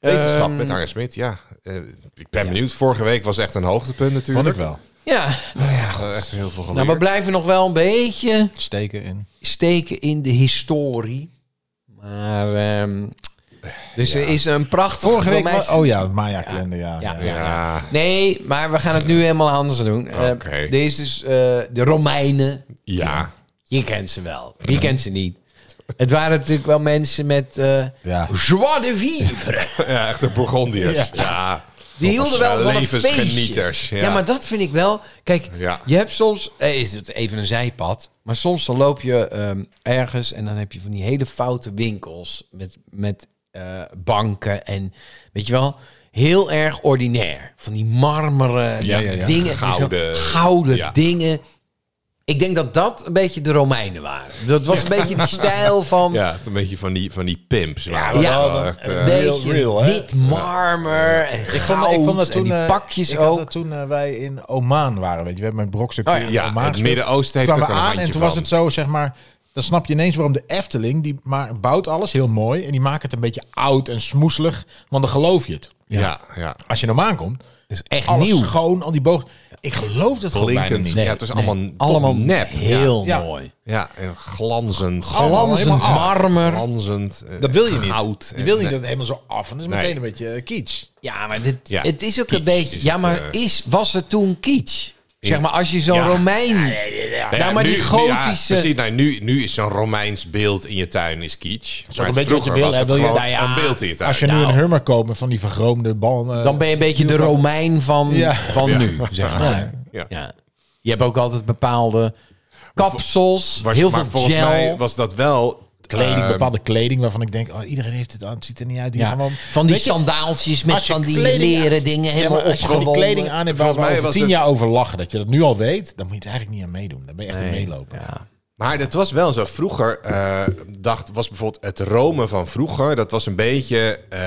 Wetenschap Ehm, met Arne Smit, ja. Eh, ik ben benieuwd. Vorige week was echt een hoogtepunt Vond natuurlijk. ik wel. Ja, Eh, echt heel veel geleerd. nou, we blijven nog wel een beetje Steken in. steken in de historie. Maar, ehm, dus er is een prachtig... Vorige week, moment- wa- oh ja, het Maya-kalender, ja. Ja. ja. ja. Nee, maar we gaan het nu helemaal anders doen. Eh Oké. er is dus eh, de Romeinen. Ja. Je kent ze wel. Wie kent ze niet? Het waren natuurlijk wel mensen met eh Ja. joie de vivre. Ja, echt de Bourgondiërs. Ja. Die hielden wel van een feestje. eh, Levensgenieters. Ja. maar dat vind ik wel. Kijk, Ja. je hebt soms, eh, is het even een zijpad, maar soms dan loop je ehm, ergens en dan heb je van die hele foute winkels met, met eh, banken en weet je wel, heel erg ordinair. Van die marmeren Ja, ja, ja. dingen, en zo. Gouden. gouden Ja. dingen. Ik denk dat dat een beetje de Romeinen waren. Dat was een beetje die stijl van Ja, het een beetje van die, van die pimps. ja, waren ja, wel echt, een eh, beetje real, hè? wit marmer en goud Ik vond, ik vond dat toen, en die eh, pakjes ik had ook. dat toen eh, wij in Oman waren, weet je. We hebben met Brokstuk Oh ja. in ja, Oman het gespeeld. Midden-Oosten heeft ook kwamen een we aan en handje toen van. was het zo, zeg maar... Dan snap je ineens waarom de Efteling, die ma- bouwt alles heel mooi... en die maakt het een beetje oud en smoeselig, want dan geloof je het. Ja, ja. Als je in Oman komt, is echt alles nieuw. schoon, al die boog. Ik geloof het gewoon bijna Blinkend. niet. ja, het is allemaal, toch Allemaal nep. Heel Ja. mooi. Ja, ja en glanzend. Glanzend helemaal af. marmer. Glanzend. eh, Dat wil je niet. Goud. Je wil niet en- dat het helemaal zo af. En dat is Nee. meteen een beetje eh, kitsch. Ja, maar dit, Ja, het is ook kitsch een beetje... is ja, het, maar eh. is, was het toen kitsch? Zeg maar, als je zo'n Ja. Romein... Nee, nou, maar nu- die nu- gotische... Ja, precies, nou, nu, nu is zo'n Romeins beeld in je tuin is kitsch. Maar een beetje wat je vroeger wil, was hè, het wil je- gewoon nou ja, een beeld in je tuin. Als je nu een hummer koopt met van die vergroomde ballen... eh, dan ben je een beetje de Romein van, Ja. van nu, zeg maar. Ja. Ja. Je hebt ook altijd bepaalde kapsels, Was- heel maar veel volgens gel. mij was dat wel... kleding, eh, bepaalde kleding waarvan ik denk, oh, iedereen heeft het aan, het ziet er niet uit. Die Ehm, ja. gewoon, van die Weet je, sandaaltjes met als je van die kleding- leren dingen ja, helemaal maar als je van die opgewonden. kleding aan hebt waar Volgens we mij over was tien het- jaar over lachen, dat je dat nu al weet, dan moet je het eigenlijk niet aan meedoen. Dan ben je echt een Nee, meeloper. ja. Maar dat was wel zo. Vroeger eh, dacht, was bijvoorbeeld het Rome van vroeger. Dat was een beetje eh,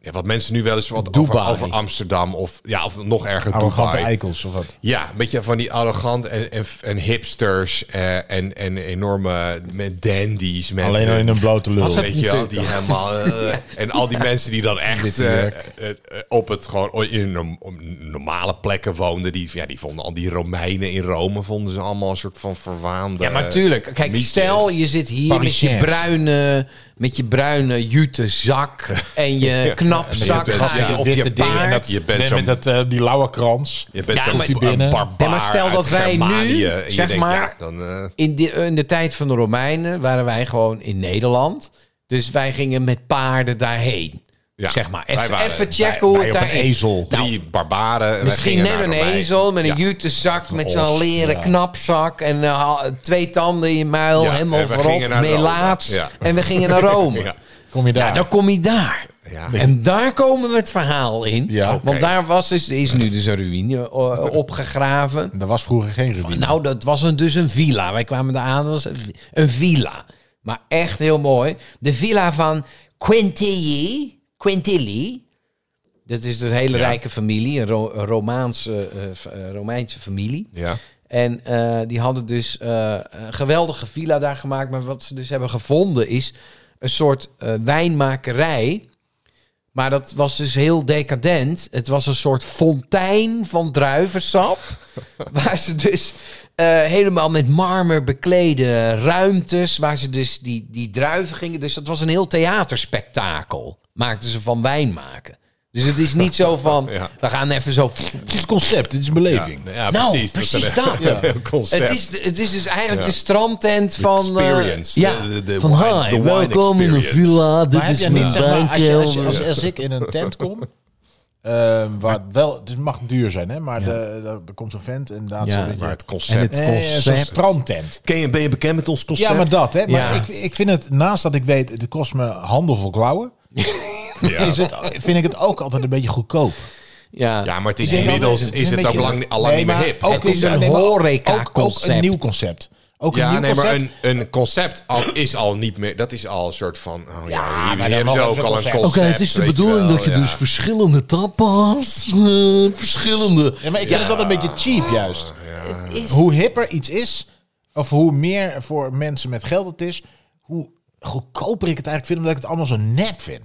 ja, wat mensen nu wel eens wat over, Dubai. over Amsterdam of, ja, of nog erger Arrogante Dubai. eikels of wat. Ja, een beetje van die arrogant en, en, en hipsters eh, en, en enorme met dandies. Met Alleen al in een blote lul. Was het- Weet je wel, die helemaal... eh, En al die mensen die dan echt eh, eh, eh, op het gewoon oh, in een norm- om- normale plekken woonden. Die, ja, die vonden al die Romeinen in Rome, vonden ze allemaal een soort van verwaande... Ja, maar tuurlijk. Kijk, mythes. stel je zit hier met je Parisiens. bruine, met je bruine jute zak en je knapzak witte- ga je ja, op witte je dingen en paard. Je bent Nee, zo'n- met dat, eh, die lauwe krans. Je bent Ja, zo'n maar- een binnen. barbaar Ja, maar stel uit dat wij nu, Germanië. En je zeg denkt, maar- ja, dan, eh, In, de, in de tijd van de Romeinen waren wij gewoon in Nederland. Dus wij gingen met paarden daarheen. Ja, zeg maar. wij Even, waren- even checken hoe wij het op daar een is. ezel. Nou, drie barbaren. en Misschien wij net gingen een naar Romein. ezel met Ja. een jute zak met zo'n os, leren ja. knapzak en eh, ha- twee tanden in je muil, Ja, helemaal en we gingen verrot, naar Rome. melaats. Ja. En we gingen naar Rome. Ja. Kom je daar? Ja, dan Nou. kom je daar. Ja. En daar komen we het verhaal in. Ja, oké. Want daar was dus, is nu dus een ruïne eh, opgegraven. Er was vroeger geen ruïne. Nou, dat was een, dus een villa. Wij kwamen daar aan, dat was een, vi- een villa. Maar echt heel mooi. De villa van Quintilli. Quintilli. Dat is dus een hele rijke familie, een, Ro- een Romaanse, eh, f- eh, Romeinse familie. Ja. En eh, die hadden dus eh, een geweldige villa daar gemaakt. Maar wat ze dus hebben gevonden is een soort eh, wijnmakerij. Maar dat was dus heel decadent. Het was een soort fontein van druivensap. waar ze dus eh, helemaal met marmer beklede ruimtes. Waar ze dus die, die druiven gingen. Dus dat was een heel theaterspektakel. Maakten ze van wijn maken. Dus het is niet zo van, Ja. we gaan even zo Het is een concept, het is een beleving. Ja, ja, nou, precies. precies, is dat. een- een concept. Het is, het is dus eigenlijk Ja. de strandtent van... eh, experience, ja, de- de- de van wine- hi, de wine welkom in de experience. villa. Dit Maar heb is jij niet, mijn zeg maar, als, je, als, je- wijnkelder. als, als ik in een tent kom, ehm, waar wel, het mag duur zijn, hè, maar de, de- er komt zo'n vent en daar Ja. zo'n beetje- Maar het En concept. het Nee, concept. zo'n strandtent. Ken je, ben je bekend met ons concept? Ja, maar dat, hè. Maar Ja. ik, ik vind het, naast dat ik weet, het kost me handen vol klauwen, Ja. is het, vind ik het ook altijd een beetje goedkoop. ja. Ja, maar het is Ik denk dat inmiddels het is, een het ook beetje- lang, al lang Nee, niet meer maar hip. ook Het is nee, een maar ook- Ook, ook horeca-concept. een nieuw concept. Ook een ja, nieuw nee, maar concept. een, een concept al, is al niet meer. Dat is al een soort van. Oh ja, hier, hier dan hebben ze nog ook een al een concept. concept. Oké, het is de weet bedoeling wel, dat je ja. dus verschillende tapas, eh, verschillende... Ja, maar ik vind het altijd een beetje cheap, juist. Hoe hipper iets is, of hoe meer voor mensen met geld het is, hoe goedkoper ik het eigenlijk vind, omdat ik het allemaal zo nep vind.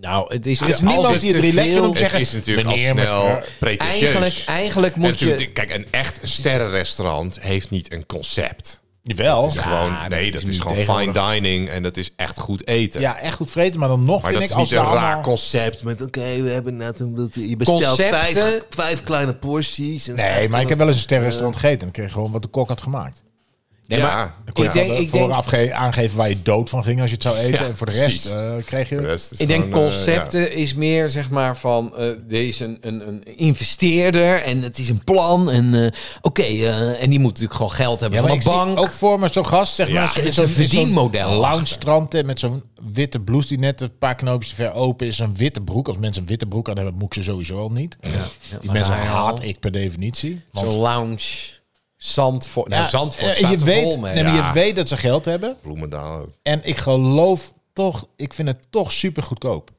Nou, het is, Er is te- als niemand die te het relaxed veel- vindt om te zeggen... Het is natuurlijk al meneer, snel mevrouw. pretentieus. Eigenlijk, eigenlijk En moet natuurlijk, je... Kijk, een echt sterrenrestaurant heeft niet een concept. Jawel. Het is gewoon, nee, dat is, gewoon fine dining en dat is echt goed eten. Ja, echt goed vreten, maar dan nog Maar vind dat ik... is als niet we een raar allemaal- concept met oké, we hebben net een... Je bestelt Concepten- vijf, vijf kleine porties. En het is Nee, echt maar ik een- heb wel eens een sterrenrestaurant gegeten. En dan kreeg je gewoon wat de kok had gemaakt. Nee, Ja. maar Ik ik denk, ik denk, vooraf ge- aangeven waar je dood van ging als je het zou eten. Ja, en voor de rest precies. eh, kreeg je... De rest is ik denk gewoon, eh, concepten is meer zeg maar van eh er is een, een, een investeerder en het is een plan en eh, oké eh, en die moet natuurlijk gewoon geld hebben Ja, maar van ik de zie bank. ook voor me zo'n gast, zeg Ja, maar. zo- het is zo'n- een zo'n verdienmodel Loungestrand eh, met zo'n witte blouse die net een paar knoopjes te ver open is. Een witte broek. Als mensen een witte broek aan hebben, moet ik ze sowieso al niet. Die maar mensen daar haat al. ik per definitie. Want Zo'n lounge zand voor nou, Ja, zand voor eh, staat je er weet, vol mee. nee, maar Ja. je weet dat ze geld hebben. Bloemendaal ook. En ik geloof toch, ik vind het toch super goedkoop.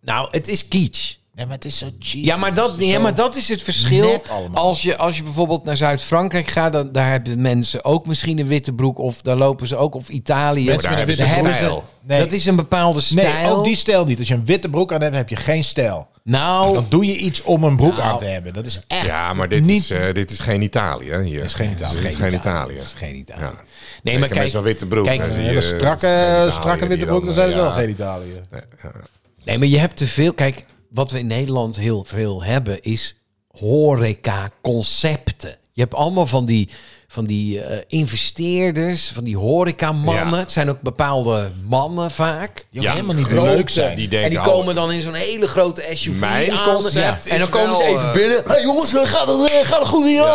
Nou, het is kitsch. Nee, maar het is zo cheap. Ja, maar dat, Zo- ja, maar dat is het verschil. nep allemaal. Als je, als je bijvoorbeeld naar Zuid-Frankrijk gaat, dan, daar hebben mensen ook misschien een witte broek. Of daar lopen ze ook. Of Italië. Mensen met een witte Daar hebben stijl. ze- Nee. Dat is een bepaalde Nee, stijl. ook die stijl niet. Als je een witte broek aan hebt, heb je geen stijl. Nou, Dan doe je iets om een broek Nou. aan te hebben. Dat is echt... Ja, maar dit, niet- is, eh, dit is geen Italië hè, hier. Dit is geen Italië. Dit is geen Italië. dat is geen Italië. Ja. Nee, maar met kijk, zo'n witte broek. kijk, hè, een die, Een hele eh, geen strakke, Italië strakke die witte dan, broek, dat eh, zijn wel ja. geen Italië. nee, maar je hebt te veel. Kijk, wat we in Nederland heel veel hebben is horeca-concepten. Je hebt allemaal van die, van die eh, investeerders, van die horeca-mannen. Ja. Het zijn ook bepaalde mannen vaak. Die ook helemaal niet grote, leuk zijn. Die denken En die al- komen dan in zo'n hele grote SUV Mijn aan. concept Ja. en is dan komen ze wel, even eh, binnen. hey jongens, eh, gaat het, eh, gaat het goed hier?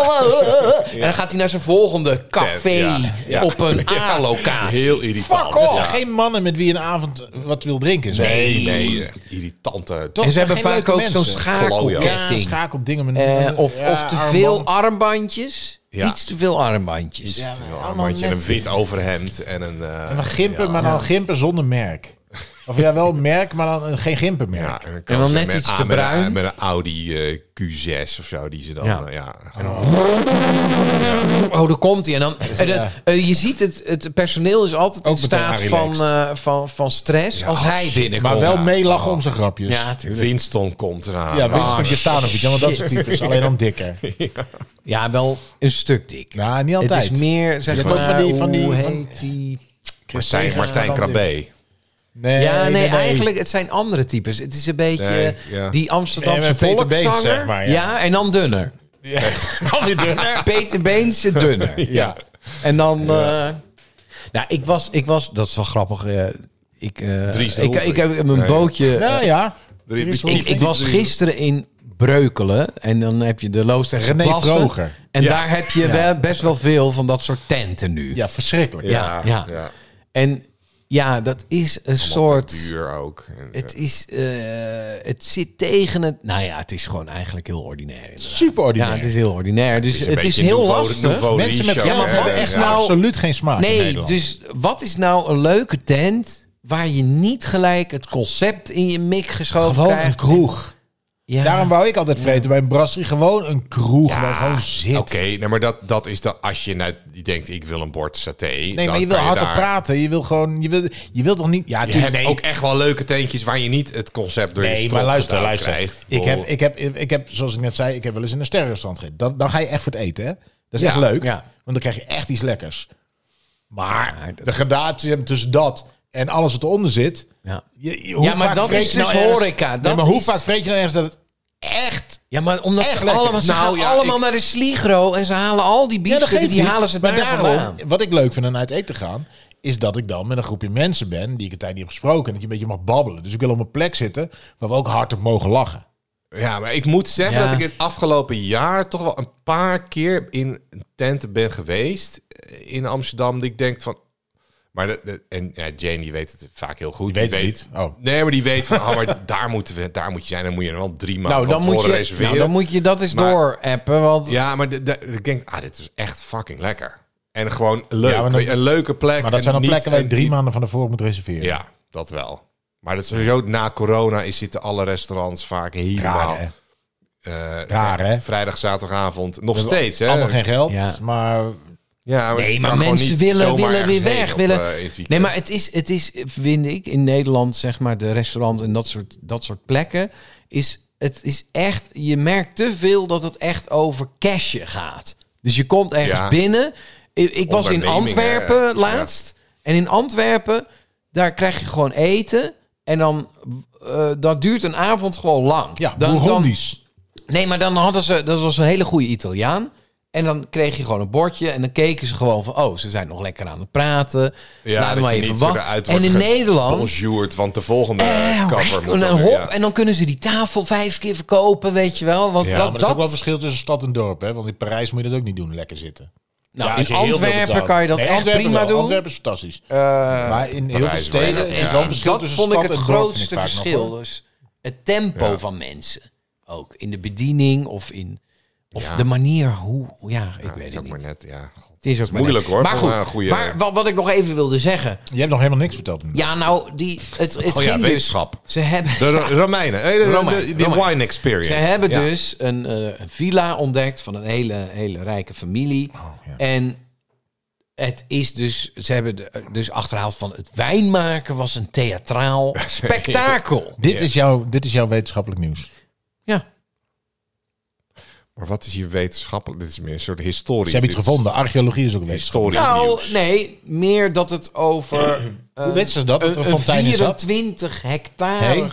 En dan gaat hij naar zijn volgende café Ja, ja. op een A-locatie. Heel irritant. Fuck off! Dat zijn geen mannen met wie je een avond wat wil drinken. Zo. Nee, nee. eh, Irritante. Toch? En ze zijn hebben geen vaak ook leuke zo'n mensen. Ja, schakelketting. schakeldingen. met- Eh, of, Ja, of te veel armband. armbandjes. Ja. Iets te veel armbandjes. Ja, maar Een allemaal armbandje en een net- wit overhemd en een... eh, Maar gimpen, maar dan gimpen zonder merk. Of ja, wel een merk, maar dan een- geen gimpenmerk. Ja, en dan, En dan net iets te bruin. Met een, met een Audi eh, Q6 of zo, die ze dan... Ja. eh, ja. Oh, daar komt hij. En dan, en dat- eh, je ziet, het, het personeel is altijd in Ook meteen staat van, eh, van, van stress als hij binnenkomt. maar wel meelachen om zijn grapjes. Ja, tuurlijk. Winston komt eraan. Ja, Oh. Ah, Winston Gestaan of iets, want dat shit. is typisch. Alleen dan dikker. Ja, wel een stuk dik. Nou, niet altijd. Het is meer, Je zeg hebt ook maar, van die- van die- hoe van- heet die... Martijn, Martijn Krabbe. Eh, Nee, Ja, nee, eigenlijk, het zijn andere types. Het is een beetje Nee, ja. die Amsterdamse Nee, maar Peter volkszanger. Beens, zeg maar, ja. ja. en dan dunner. Ja, dan weer dunner. Peter Beens en dunner. Ja. En dan... eh, nou, ik was, ik was... Dat is wel grappig. eh, ik, eh, Dries de ik, Roelvink. ik heb mijn Nee. bootje... eh, Nou ja. Drie- Er is wel- ik, ik was gisteren in Breukelen. En dan heb je de Loos en René Plassen. Vroger. En daar heb je wel, best wel veel van dat soort tenten nu. Ja, verschrikkelijk. Ja, ja. En ja, dat is een Soort... soort... Duur ook. En, Het is, eh, het zit tegen het. Nou ja, het is gewoon eigenlijk heel ordinair. inderdaad. Super Ja, ordinair. het is heel ordinair. Dus een het is beetje heel nouveau- lastig. nouveau Mensen met riche Ja, maar ook, wat hè, is ja. nou- absoluut geen smaak in Nee, Nederland. dus wat is nou een leuke tent waar je niet gelijk het concept in je mik geschoven Gewoon een krijgt? kroeg. Ja. Daarom wou ik altijd vreten bij een brasserie. Gewoon een kroeg waar je gewoon zit. Oké, nou, maar dat, dat is dan als je nou die denkt, ik wil een bord saté. Nee, maar je wil hardop praten. Je wil gewoon... Je wil, je wil toch niet... Ja, Je tuurlijk, hebt nee. ook echt wel leuke teentjes waar je niet het concept door je Nee, strot maar luister, geduwd luister. krijgt. Ik heb, Bedoel, ik, heb, ik heb, zoals ik net zei, ik heb wel eens in een sterrenrestaurant gegeten. Dan, dan ga je echt voor het eten, hè? Dat is Ja, echt leuk, ja. want dan krijg je echt iets lekkers. Maar de gradatie tussen dat en alles wat eronder zit... Ja. Je, je- Ja, maar vaak dat vreet is je nou dus ergens- horeca. Nee, Dat maar hoe is- vaak vreet je nou ergens dat het echt... ja, maar omdat Echt ze lekker. allemaal, ze Nou, gaan ja, allemaal ik- naar de Sligro en ze halen al die Ja, dat biefstukken, geeft die niet, halen ze maar daar daarom, aan. Wat ik leuk vind aan uit eten gaan, is dat ik dan met een groepje mensen ben... die ik een tijd niet heb gesproken en dat je een beetje mag babbelen. Dus ik wil op een plek zitten waar we ook hard op mogen lachen. Ja, maar ik moet zeggen Ja. dat ik het afgelopen jaar toch wel een paar keer in tenten ben geweest eh, in Amsterdam. Dat ik denk van. Maar de, de- en ja, Jane die weet het vaak heel goed. Die weet het niet. Oh. Nee, maar die weet van, oh, maar daar, moeten we, daar moet je zijn. Dan moet je dan wel drie maanden Nou van dan, moet tevoren je, reserveren. nou, dan moet je dat eens Maar- doorappen. Want Ja, maar de, de- ik denk, ah, dit is echt fucking lekker. En gewoon leuk. Ja, maar dan- weet je, een leuke plek. Maar dat en zijn dan niet- plekken waar je en drie niet- maanden van tevoren moet reserveren. Ja, dat wel. Maar dat is sowieso na corona is zitten alle restaurants vaak helemaal... Raar, hè? eh, Raar, hè? Vrijdag, zaterdagavond. Nog We hebben steeds, hè? Allemaal geen geld, Ja. maar Ja, maar Nee, je maar kan gewoon mensen niet willen, zomaar willen ergens weer heen weg. op, willen... eh, in het weekend. nee, maar het is, het is, vind ik, in Nederland, zeg maar, de restaurants en dat soort, dat soort plekken, is het is echt, je merkt te veel dat het echt over cashje gaat. Dus je komt ergens Ja. binnen. Ik, ik was in Ondernemingen, Antwerpen eh, laatst. En in Antwerpen, daar krijg je gewoon eten. En dan, eh, dat duurt een avond gewoon lang. Ja, dan, dan, Bourgondisch. Nee, maar dan hadden ze, dat was een hele goede Italiaan. En dan kreeg je gewoon een bordje en dan keken ze gewoon van, oh, ze zijn nog lekker aan het praten. Ja, Laat dat maar je even niet zo wachten. eruit En wordt in ge- Nederland, bonjourd, want de volgende eh, eh, cover hek, moet en, dan hop, weer, ja. en dan kunnen ze die tafel vijf keer verkopen, weet je wel. Want Ja, Ja, maar dat, dat is dat, ook wel verschil tussen stad en dorp, hè? Want in Parijs moet je dat ook niet doen, lekker zitten. nou, Ja, als in je heel veel Antwerpen betaalt. kan je dat Nee, echt Antwerpen prima wel. doen. Antwerpen is fantastisch. Eh, maar in heel veel Parijs wel, steden ja. is wel een verschil dat tussen vond ik stad het en dorp, vind grootste ik vaak nog, verschil. hoor. Dus het tempo Ja. van mensen. Ook in de bediening of in of Ja. de manier hoe. Ja, ik Ja, weet het het is ook niet. Ah, maar net, ja. God. Het is ook Het is maar net. moeilijk, hoor, Maar voor goed, een goede- maar wat, wat ik nog even wilde zeggen. Je hebt nog helemaal niks verteld. Ja, nou, die, het, het Oh ging ja, dus... wetenschap. Ze hebben, De Ro- Romeinen. Eh, de- de- Romeinen, de- Die Romeinen. wine experience. ze hebben Ja. dus een eh, een villa ontdekt van een hele, hele rijke familie. Oh, Oh, ja. En het is dus... Ze hebben de- dus achterhaald van... Het wijnmaken was een theatraal spektakel. Dit, is jouw, dit is jouw wetenschappelijk nieuws. Ja. Maar wat is hier wetenschappelijk? Dit is meer een soort historie. Ze hebben iets Dit is gevonden. Archeologie is ook wetenschap. Historisch Nou, nieuws. nee. Meer dat het over... eh, Hoe weten ze dat? Dat er een Een, een fontein is dat? 24 hectare Hey, luister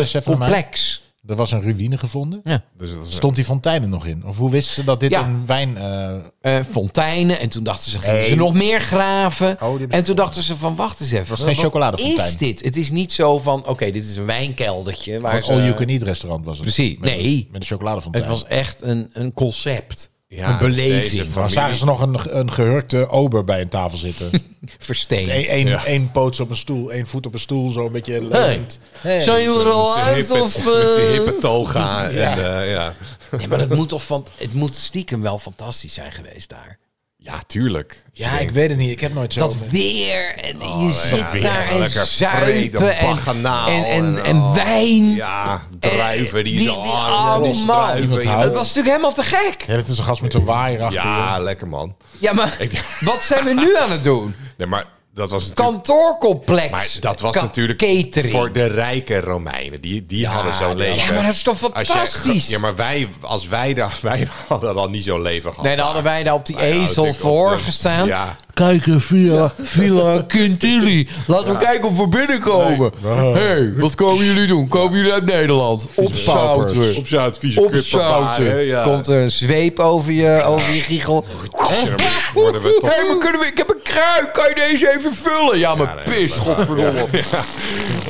eens grote even naar mij. complex. Er was een ruïne gevonden. Dus dat is Stond die fontein er nog in? Of hoe wisten ze dat dit Ja. een wijn... eh, eh, fonteinen. En toen dachten ze, gingen Hey. ze nog meer graven. Oh, die- en toen dachten ze van, wacht eens even. was geen wat chocoladefontein. is dit? Het is niet zo van, oké, dit is een wijnkeldertje. Waar Een ze, all-you-can-eat restaurant was het. eh, Precies, Met- nee. Met een chocoladefontein. het was echt een, een concept. Ja, een dus deze beleving. van- Maar zagen ze nog een, een gehurkte ober bij een tafel zitten? Versteend. Eén één één poot op een stoel, één voet op een stoel, zo een beetje... leunend. Hey. Zijn jullie er al Met uit? zijn Oh, Of, hippe- met zijn eh? hippe toga. Ja. En, eh, ja. Nee, maar het moet, toch van, het moet stiekem wel fantastisch zijn geweest daar. ja, tuurlijk. Ja, ik weet het niet. Ik heb nooit zo... Dat weer en je zit weer. daar en Lekker vreten, zuipen en, baganaal en, en, en- en oh. wijn. Ja, Eh, druiven die, Die- zo die- arm, oh, man. druiven. Ja, Dat was natuurlijk helemaal te gek. Ja, dat is een gast met een waaier achter ja, je. lekker man. Ja, maar Ik- wat zijn we nu aan het doen? Nee, maar dat was natuurlijk... Kantoorcomplex. Maar dat was Ka- natuurlijk catering. voor de rijke Romeinen. Die, die hadden zo'n leven. ja, maar dat is toch Als jij- fantastisch? ja, maar wij, als wij, daar, wij hadden dan niet zo'n leven gehad. Nee, dan hadden wij daar op die Maar Nou ja, ezel natuurlijk op voor de- gestaan. Ja. Kijk, een villa, villa Quintilli. Laten we kijken of we binnenkomen. Hé, hey, wat komen jullie doen? Komen jullie uit Nederland? Opzouten. Op zijn advies. Opzouten. Komt er een zweep over je, over je Oh, giegel. Hè? worden we Hé, tot... maar kunnen we, ik heb een kruik. Kan je deze even vullen? Ja, maar nee, pis, godverdomme.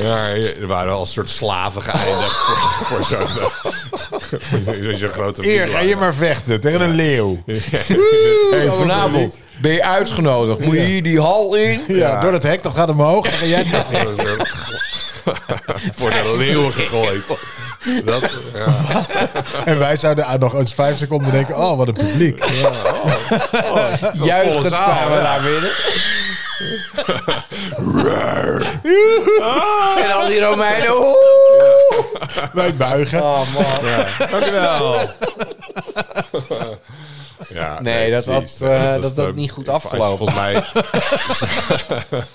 Ja, er waren al een soort slaven geëindigd voor, voor zo'n... eh, voor zo'n grote Eer, ga je maar vechten tegen een leeuw. Hey, vanavond ben je uitgenodigd. Moet je hier die hal in? Ja, door het hek, dan gaat omhoog. Dan ga jij Voor de leeuwen gegooid. Dat, ja. En wij zouden aan nog eens vijf seconden denken, oh, wat een publiek. Juichend Oh, volle zaal, kwamen we ja. daar binnen. en al die Romeinen. oeh. Wij buigen. Oh man. Dankjewel. Ja, Nee, dat precies. had, eh, dat is had ook- niet goed als- afgelopen. Volgens mij...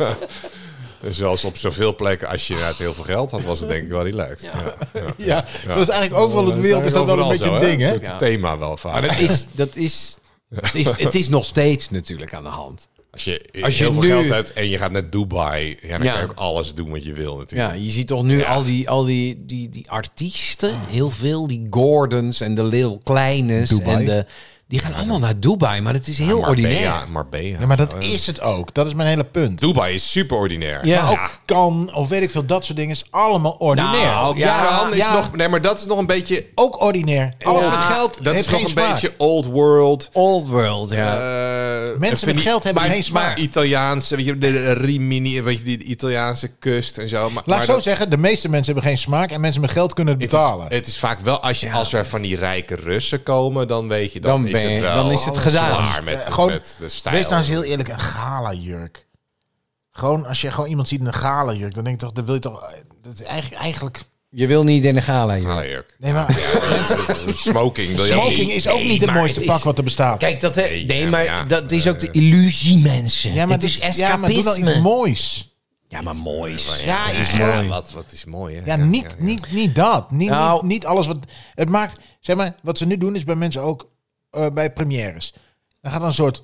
Zoals op zoveel plekken, als je inderdaad heel veel geld had, was het denk ik wel relaxed. Ja. Ja. Ja, dat is eigenlijk overal in de wereld is dat wel een Overal beetje zo, een ding, hè? soort Ja. thema wel vaak. Maar dat is, dat is, het is, het is nog steeds natuurlijk aan de hand. Als je Als je heel veel nu- geld hebt en je gaat naar Dubai, ja, dan Ja. kan je ook alles doen wat je wil natuurlijk. Ja, je ziet toch nu Ja. al, die, al die, die, die artiesten, heel veel, die Gordons en de Lil Kleines. Dubai. En de, die gaan allemaal naar Dubai, maar het is heel ordinair. Marbella, Marbella. Ja, maar dat is het ook. Dat is mijn hele punt. Dubai is super ordinair. Ja. Maar ook kan, of weet ik veel, dat soort dingen is allemaal ordinair. Nou, Ook Ja, Iran is ja. nog... Nee, maar dat is nog een beetje... Ook ordinair. Alles met geld Dat heeft is nog geen een smaak. beetje old world. Old world, ja. eh, Mensen van met die geld hebben geen smaak. Italiaanse, weet je, de- de Rimini, weet je, die de Italiaanse kust en zo. Maar, Laat maar ik zo dat- zeggen, de meeste mensen hebben geen smaak en mensen met geld kunnen het het is- betalen. Het is, vaak wel, als, je, als er van die rijke Russen komen, dan weet je, dan, Dan is ben het je- wel dan is het gedaan. klaar met, Eh, gewoon- met de stijl. Wees nou eens heel eerlijk, een gala-jurk. Gewoon, als je gewoon iemand ziet in een gala-jurk, dan denk ik toch, dan wil je toch... eh, Dat is eigenlijk, eigenlijk... Je wil niet in de gala, joh. Halen jurk. Nee, maar Smoking. Wil je ook smoking niet? is ook niet het maar mooiste het pak is- wat er bestaat. Kijk, dat, hè, nee, ja, maar ja. dat is ook de illusie, mensen. ja, maar het is dit- ja, maar doe wel escapisme. iets moois. Ja, maar moois. Ja, iets Ja, moois. wat, wat is mooi, hè? Ja, niet, Niet, niet dat. Niet, Nou. niet, niet alles wat... Het maakt... Zeg maar, wat ze nu doen is bij mensen ook... eh, bij premières. Dan gaat dan een soort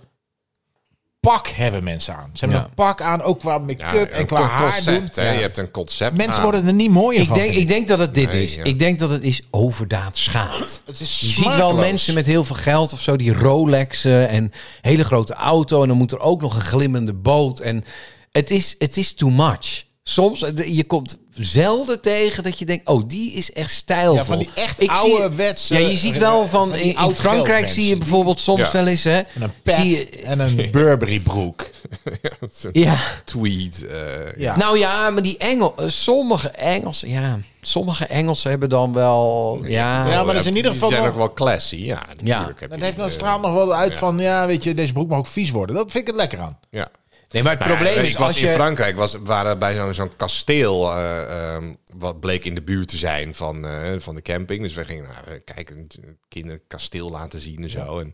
pak hebben mensen aan. Ze hebben Ja. een pak aan, ook qua Ja, make-up en een qua haar doen. concept, hè? Je hebt een concept Mensen aan. worden er niet mooier Ah. Ik van. denk, vind ik denk dat het dit Nee, is. ja. Ik denk dat het is overdaad schaadt. Het is Je ziet wel smakeloos. mensen met heel veel geld of zo, die Rolexen en hele grote auto. En dan moet er ook nog een glimmende boot. En het is, het is too much. Soms, eh, je komt zelden tegen dat je denkt, oh, die is echt stijlvol. Ja, van die echt Ik zie- ouderwetse- Ja, je ziet wel van, van die in, in oud Frankrijk geldmensen. zie je bijvoorbeeld soms Ja. wel eens, hè. En een pet zie je- en een Burberry broek. ja. Tweed. eh, Ja. Nou ja, maar die Engel, eh, sommige Engelsen, ja, sommige Engelsen hebben dan wel, ja. Ja, maar dat is hebt- in ieder geval Die zijn wel- ook wel classy, ja. Natuurlijk heb je Dat die, heeft dan eh, straalt nog wel uit ja. van... Ja, weet je, deze broek mag ook vies worden. Dat vind ik het lekker aan. Ja. Nee, maar het Nou ja, probleem ik is was als in je... Frankrijk was, waren bij zo'n zo'n kasteel eh, ehm, wat bleek in de buurt te zijn van, eh, van de camping. Dus we gingen nou, kijken, kinderen het kasteel laten zien en zo. En,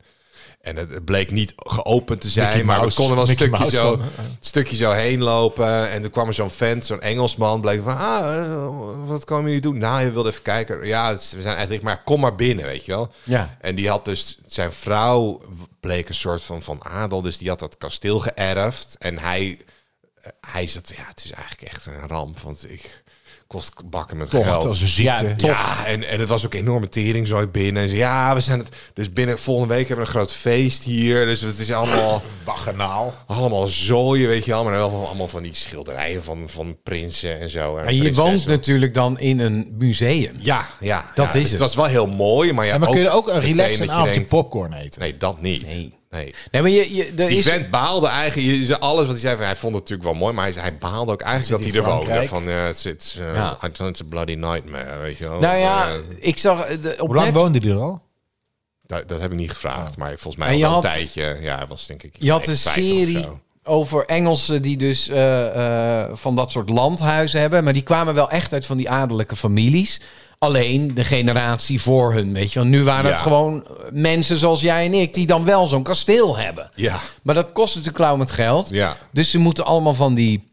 en het, het bleek niet geopend te zijn, Mickey maar we Mouse. konden wel een Mickey stukje Mouse zo, kon, een stukje zo heen lopen. En toen kwam er zo'n vent, zo'n Engelsman, bleek van, ah, eh, wat komen jullie doen? Nou, je wilde even kijken. Ja, het is- we zijn eigenlijk, maar kom maar binnen, weet je wel. Ja. En die had dus zijn vrouw bleek een soort van van adel, dus die had dat kasteel geërfd. En hij, eh, hij zat, ja, het is eigenlijk echt een ramp, want ik kost bakken met Tocht geld. als een ziekte. Ja, Ja, en, en het was ook enorme tering zo binnen. En ze, ja, we zijn het. Dus binnen volgende week hebben we een groot feest hier. Dus het is allemaal, Baganaal. allemaal zooien, weet je wel. Maar dan wel van, allemaal van die schilderijen van, van prinsen en zo. En Maar je woont prinsessen. natuurlijk dan in een museum. Ja, ja. Dat ja. is Dus het. Het was wel heel mooi, maar ja. En maar kun je er ook een meteen relaxed dat een je avondje denkt, popcorn eten? Nee, dat niet. nee. Nee, maar je, je, er Die is, vent baalde eigenlijk, je zei alles wat hij zei, van, hij vond het natuurlijk wel mooi, maar hij, zei- hij baalde ook eigenlijk dat Zit hij er in woonde. Frankrijk? Van, eh it's, it's, eh, Ja. it's, a bloody nightmare, weet je wel. nou ja, Eh, ik zag eh, de- op Hoe lang net, woonde die er al? dat, dat heb ik niet gevraagd, maar volgens mij En al je wel een had- tijdje. Ja, hij was denk ik je had een 59 of serie zo. over Engelsen die dus eh, eh, van dat soort landhuizen hebben. Maar die kwamen wel echt uit van die adellijke families. Alleen de generatie voor hun, weet je. Want nu waren het Ja. gewoon eh, mensen zoals jij en ik die dan wel zo'n kasteel hebben. Ja, Maar dat kost natuurlijk klauwend geld. ja. Dus ze moeten allemaal van die...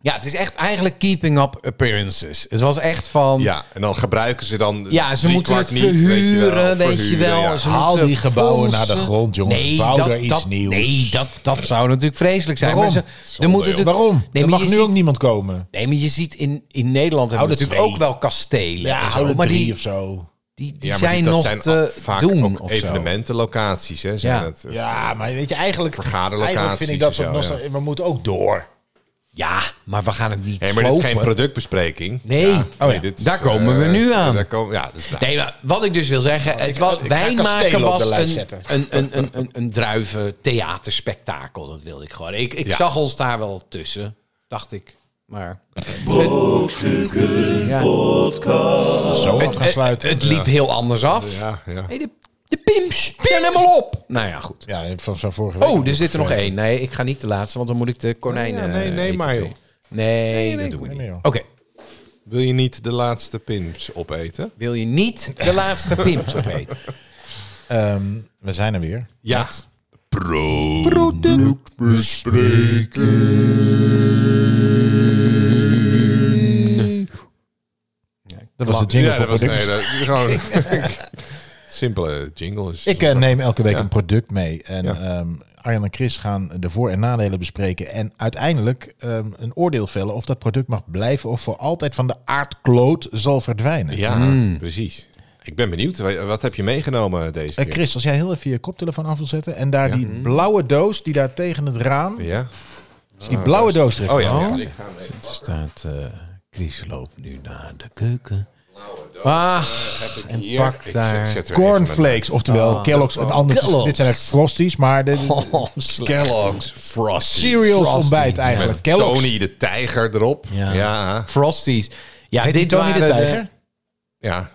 Ja, het is echt eigenlijk keeping up appearances. Het was echt van... Ja, en dan gebruiken ze dan Ja, ze drie moeten kwart het niet, verhuren, weet je wel. Verhuren, ja. Ze Haal moeten die gebouwen fondsen. naar de grond, jongens. Bouw daar iets nieuws. Nee, dat, dat zou natuurlijk vreselijk zijn. Waarom? Maar ze, er moet joh. natuurlijk, Waarom? Nee, er maar mag je nu ziet, ook niemand komen. Nee, maar je ziet in, in Nederland hebben we Houden natuurlijk ook twee. wel kastelen. Ja, oh, en zo, houden maar drie die, of zo. die, die Ja, maar zijn die- dat nog zijn te vaak doen. ook Of zo. evenementenlocaties, hè, zijn Ja. het. Ja, maar weet je, eigenlijk, Vergaderlocaties eigenlijk vind ik dat en soort zo, nostal- We moeten ook door. Ja, maar we gaan het niet Hé, maar dit is geen slopen. productbespreking. Nee. Oh ja, dit is, daar komen eh, we nu aan. Daar komen, ja, dus, nou, Nee, maar wat ik dus wil zeggen, het wa- ik ga wij kastelen maken op de was lijst een, zetten. een, een, een, een, een druiven theaterspektakel. Dat wilde ik gewoon. Ik, ik Ja. zag ons daar wel tussen, dacht ik. Maar Brokstukken ja, Zo af gaan het, het, sluiten. het liep heel anders af. ja, ja. Hey, de, de pimps, zijn helemaal op. Nou ja, goed. Ja, van zo'n vorige week. Oh, er zit er nog één. Nee, ik ga niet de laatste, want dan moet ik de konijnen... Ja, nee, eh, nee, eten maar, vullen. joh. Nee, dat doen we nee, niet. joh. Oké, Wil je niet de laatste pins opeten? wil je niet de laatste pimps opeten? Ehm, we zijn er weer. Ja. Pro. Dat was de jingle Ja, voor dat was nee, producten. dat, gewoon simpele jingles. Ik eh, neem elke week Ja. een product mee. En Ja. ehm, Arjan en Chris gaan de voor- en nadelen bespreken. En uiteindelijk ehm, een oordeel vellen of dat product mag blijven of voor altijd van de aardkloot zal verdwijnen. Eh, Ja, Hmm. precies. Ik ben benieuwd. Wa- Wat heb je meegenomen deze Eh, keer? Chris, als jij heel even je koptelefoon af wil zetten en daar die blauwe doos die daar tegen het raam, Ja. dus die blauwe doos er even Oh ja. aan. ja, ik ga mee. staat eh Chris loopt nu naar de keuken. Ah, en Hier, ik pakt zet- daar... ik zet er even Cornflakes, oftewel Ah, Kellogg's en andere. Kellogg's. Dit zijn echt frosties, maar de, de- Oh, een- slecht. Kellogg's Frosty. cereals Frosty. ontbijt eigenlijk. Met Kellogg's. Tony de Tijger erop. Ja. Ja. ja. Frosties. Ja, Heet die dit Tony de waren Oh, Tijger?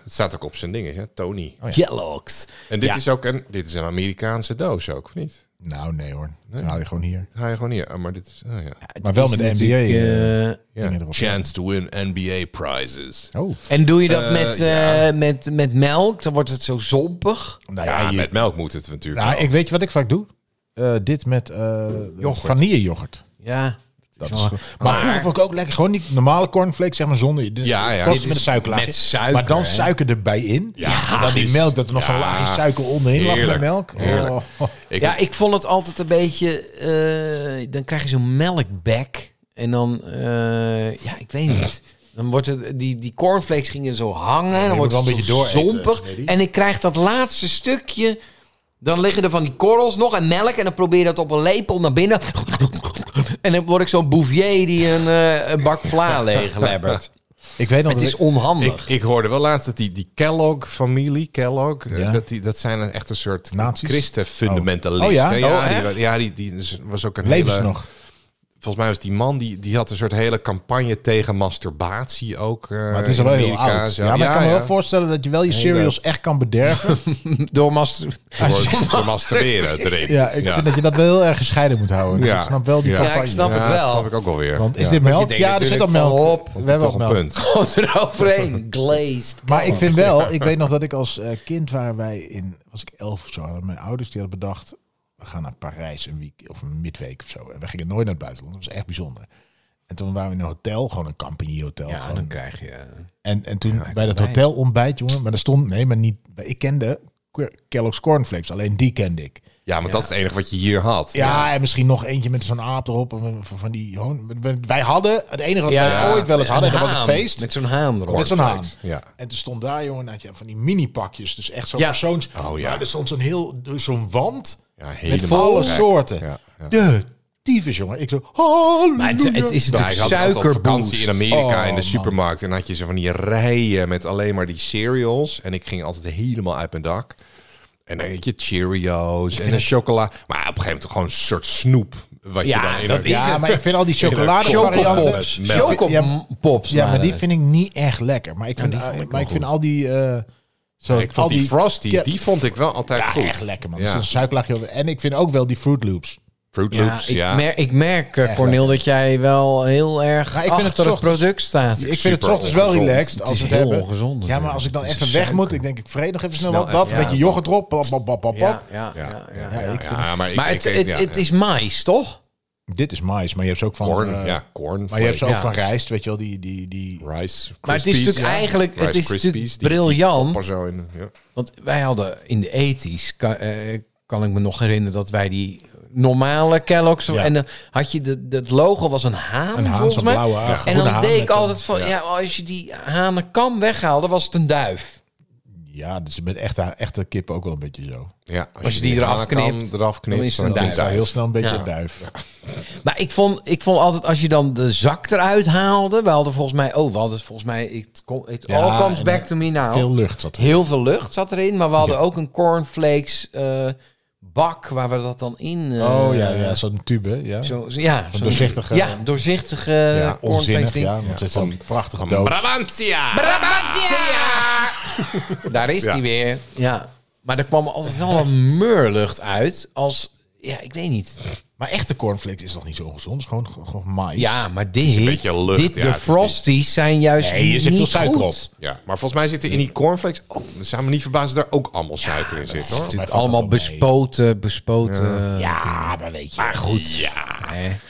het staat Oh ook op zijn ding, hè? Tony. Kellogg's. En dit Ja. is ook een, dit is een Amerikaanse doos ook, of niet? Nou, nee hoor. Dan haal je gewoon hier. Ga je gewoon hier. Ah, maar dit is... ah, ja. Het Maar wel is met de NBA, natuurlijk, eh, eh, Ja. Dingen erop. Chance to win NBA prizes. Oh. en doe je dat Eh, met, ja. eh, met, met melk? Dan wordt het zo zompig. Nou Ja, ja, je- met melk moet het natuurlijk nou, wel. ik weet je wat ik vaak doe? Eh, dit met eh vanilleyoghurt. Ja. Dat Zo. is goed. maar, vroeger vond ik ook lekker. Gewoon die normale cornflakes, zeg maar zonder. Ja, ja. Vast Dit is met een suikerlaagje. met suiker, maar dan hè? suiker erbij in. Ja, en dan die precies. melk, dat er nog Ja. zo'n laagje suiker onderheen lag met Heerlijk. melk. Heerlijk. Oh. Ik- ja, ik vond het altijd een beetje... eh, dan krijg je zo'n melkbek. En dan... eh, ja, ik weet niet. Dan wordt het, die, die cornflakes gingen zo hangen. dan moet wordt wel het een een beetje beetje dooreten, zompig. Smitty. En ik krijg dat laatste stukje... Dan liggen er van die korrels nog en melk. En dan probeer je dat op een lepel naar binnen. En dan word ik zo'n bouvier die een, eh, een bak vla leeglebbert. Ik weet nog Het dat is ik- onhandig. Ik, ik hoorde wel laatst dat die, die Kellogg-familie, Kellogg, eh, Ja. dat, die, dat zijn echt een soort Nazi's? christen-fundamentalisten. Oh. Oh ja? Ja, Oh, die, echt? wa- ja die, die is- was ook een Leven ze hele... nog. Volgens mij was die man, die, die had een soort hele campagne tegen masturbatie ook. eh, Maar het is in al wel heel Amerika, oud. zo. Ja, maar ik kan me ja. wel voorstellen dat je wel je cereals echt kan bederven. Door mas- Door, door masturberen erin. ja, ik vind dat je dat wel heel erg gescheiden moet houden. Ja. Ik snap wel die Ja, ik campagne. snap Ja, het dat wel. snap ik ook wel weer. Want is Ja. dit je melk? denkt Ja, er zit al natuurlijk melk. van, hop, we hebben toch al een melk. punt. Komt eroverheen. Glazed. Maar ik vind wel, ik weet nog dat ik als eh, kind waren wij in, was ik elf of zo, hadden mijn ouders die hadden bedacht, we gaan naar Parijs een week of een midweek of zo. En we gingen nooit naar het buitenland, dat was echt bijzonder. En toen waren we in een hotel, gewoon een campagnehotel. gewoon. krijg je... En, en toen bij dat hotel ontbijt, jongen, maar er stond, nee, maar niet, ik kende Ke- Kellogg's Cornflakes, alleen die kende ik. Ja, maar dat is het enige wat je hier had. Ja, en misschien nog eentje met zo'n aap erop. en Van, van die, gewoon- wij hadden, het enige wat wij ooit wel eens hadden, dat was een feest. Met zo'n haan erop. Met zo'n haan. Ja. En toen stond daar, jongen, had je van die mini-pakjes. Dus echt zo'n Ja. persoons... Oh, ja. Maar er stond zo'n heel... Zo'n wand Ja, met helemaal alle gek. soorten. Ja, ja. De tyfus, jongen. Ik zo... Maar het, Halleluja. het is Ja, natuurlijk ik had altijd op vakantie in suikerboost. Amerika Oh, in de man. supermarkt. En dan had je zo van die rijen met alleen maar die cereals. En ik ging altijd helemaal uit mijn dak. En dan eet je Cheerios en een chocola. Maar op een gegeven moment gewoon een soort snoep. Wat Ja, je dan in dat een- is ja, het. maar ik vind al die Chocopops. chocoladevarianten... Met melk. Chocopops. Ja, maar die eh, vind ik niet echt lekker. Maar ik vind, die vond ik maar wel ik vind goed. al die... eh, zo, Ik vond al die, Frosties, Ja, die vond ik wel altijd ja, goed. echt lekker, man. Ja. Dat is een suiklaagje over. En ik vind ook wel die Fruit Loops. Fruit ja, Loops, ik, ja. Merk, ik merk, eh, Echt Cornel, dat jij wel heel erg Maar ik vind het achter het, ochtends- product staat. Ik vind het super ochtends wel ongezond. relaxed als is we het heel hebben. ongezond Ja, maar natuurlijk. als ik dan Het is even weg moet, suiker. ik denk ik vreeg nog even snel Snel wat dat, even, een ja. beetje yoghurt erop, pap, pap, pap, pap. Ja, ja, ja. ja, Ja, ja. ja, maar ik- Maar ik- het, ik- het, ja, het ja. is mais, toch? Dit is mais, maar je hebt ze ook van... Corn, eh, ja, corn. Maar je hebt ze ook Ja. van rijst, weet je wel, die... die, die Rice Maar het is Krispies, natuurlijk ja. eigenlijk- het Rice is natuurlijk Krispies, die- die briljant. poppen zo in, ja. Want wij hadden in de ethisch, kan, eh, kan ik me nog herinneren dat wij die normale Kellogg's Ja. en dan had je de, het logo was een haan Een haan, volgens zo'n mij. blauwe haan, en groene dan haan deed ik met een- altijd van ja. als je die hanenkam weghaalde was het een duif. ja, dus met echte, echte kippen ook wel een beetje zo. Ja, als, je die eraf aan de kant knipt, eraf knipt, dan is het een Dan is duif. daar heel snel een beetje Ja. een duif. Maar ik vond, ik vond altijd als je dan de zak eruit haalde, we hadden volgens mij oh we hadden volgens mij it, com- it Ja, all comes en back dan to me now. Veel lucht zat er. Heel veel lucht zat erin, maar we hadden ook een cornflakes eh, bak waar we dat dan in. eh, Oh ja, ja zo'n tube, ja. Zo, zo- ja, zo'n- doorzichtige- Ja, doorzichtige ja, onzinnig, cornflakes ding. ja, want het is een prachtige doos. Brabantia! Daar is die weer. Ja. Maar er kwam altijd wel een meurlucht uit als... Ja, ik weet niet. Maar echte cornflakes is nog niet zo ongezond, het is gewoon, gewoon, gewoon mais. Ja, maar dit, beetje lucht, dit ja, de het is Frosties zijn juist Nee, hier zit niet veel suiker goed. op. Ja, maar volgens mij zitten in die cornflakes... Oh, dan zijn we niet verbaasd dat daar ook allemaal suiker in zit, hoor. Het is valt allemaal dat wel mee. bespoten, bespoten... eh, Ja, maar weet je. Maar goed, ja.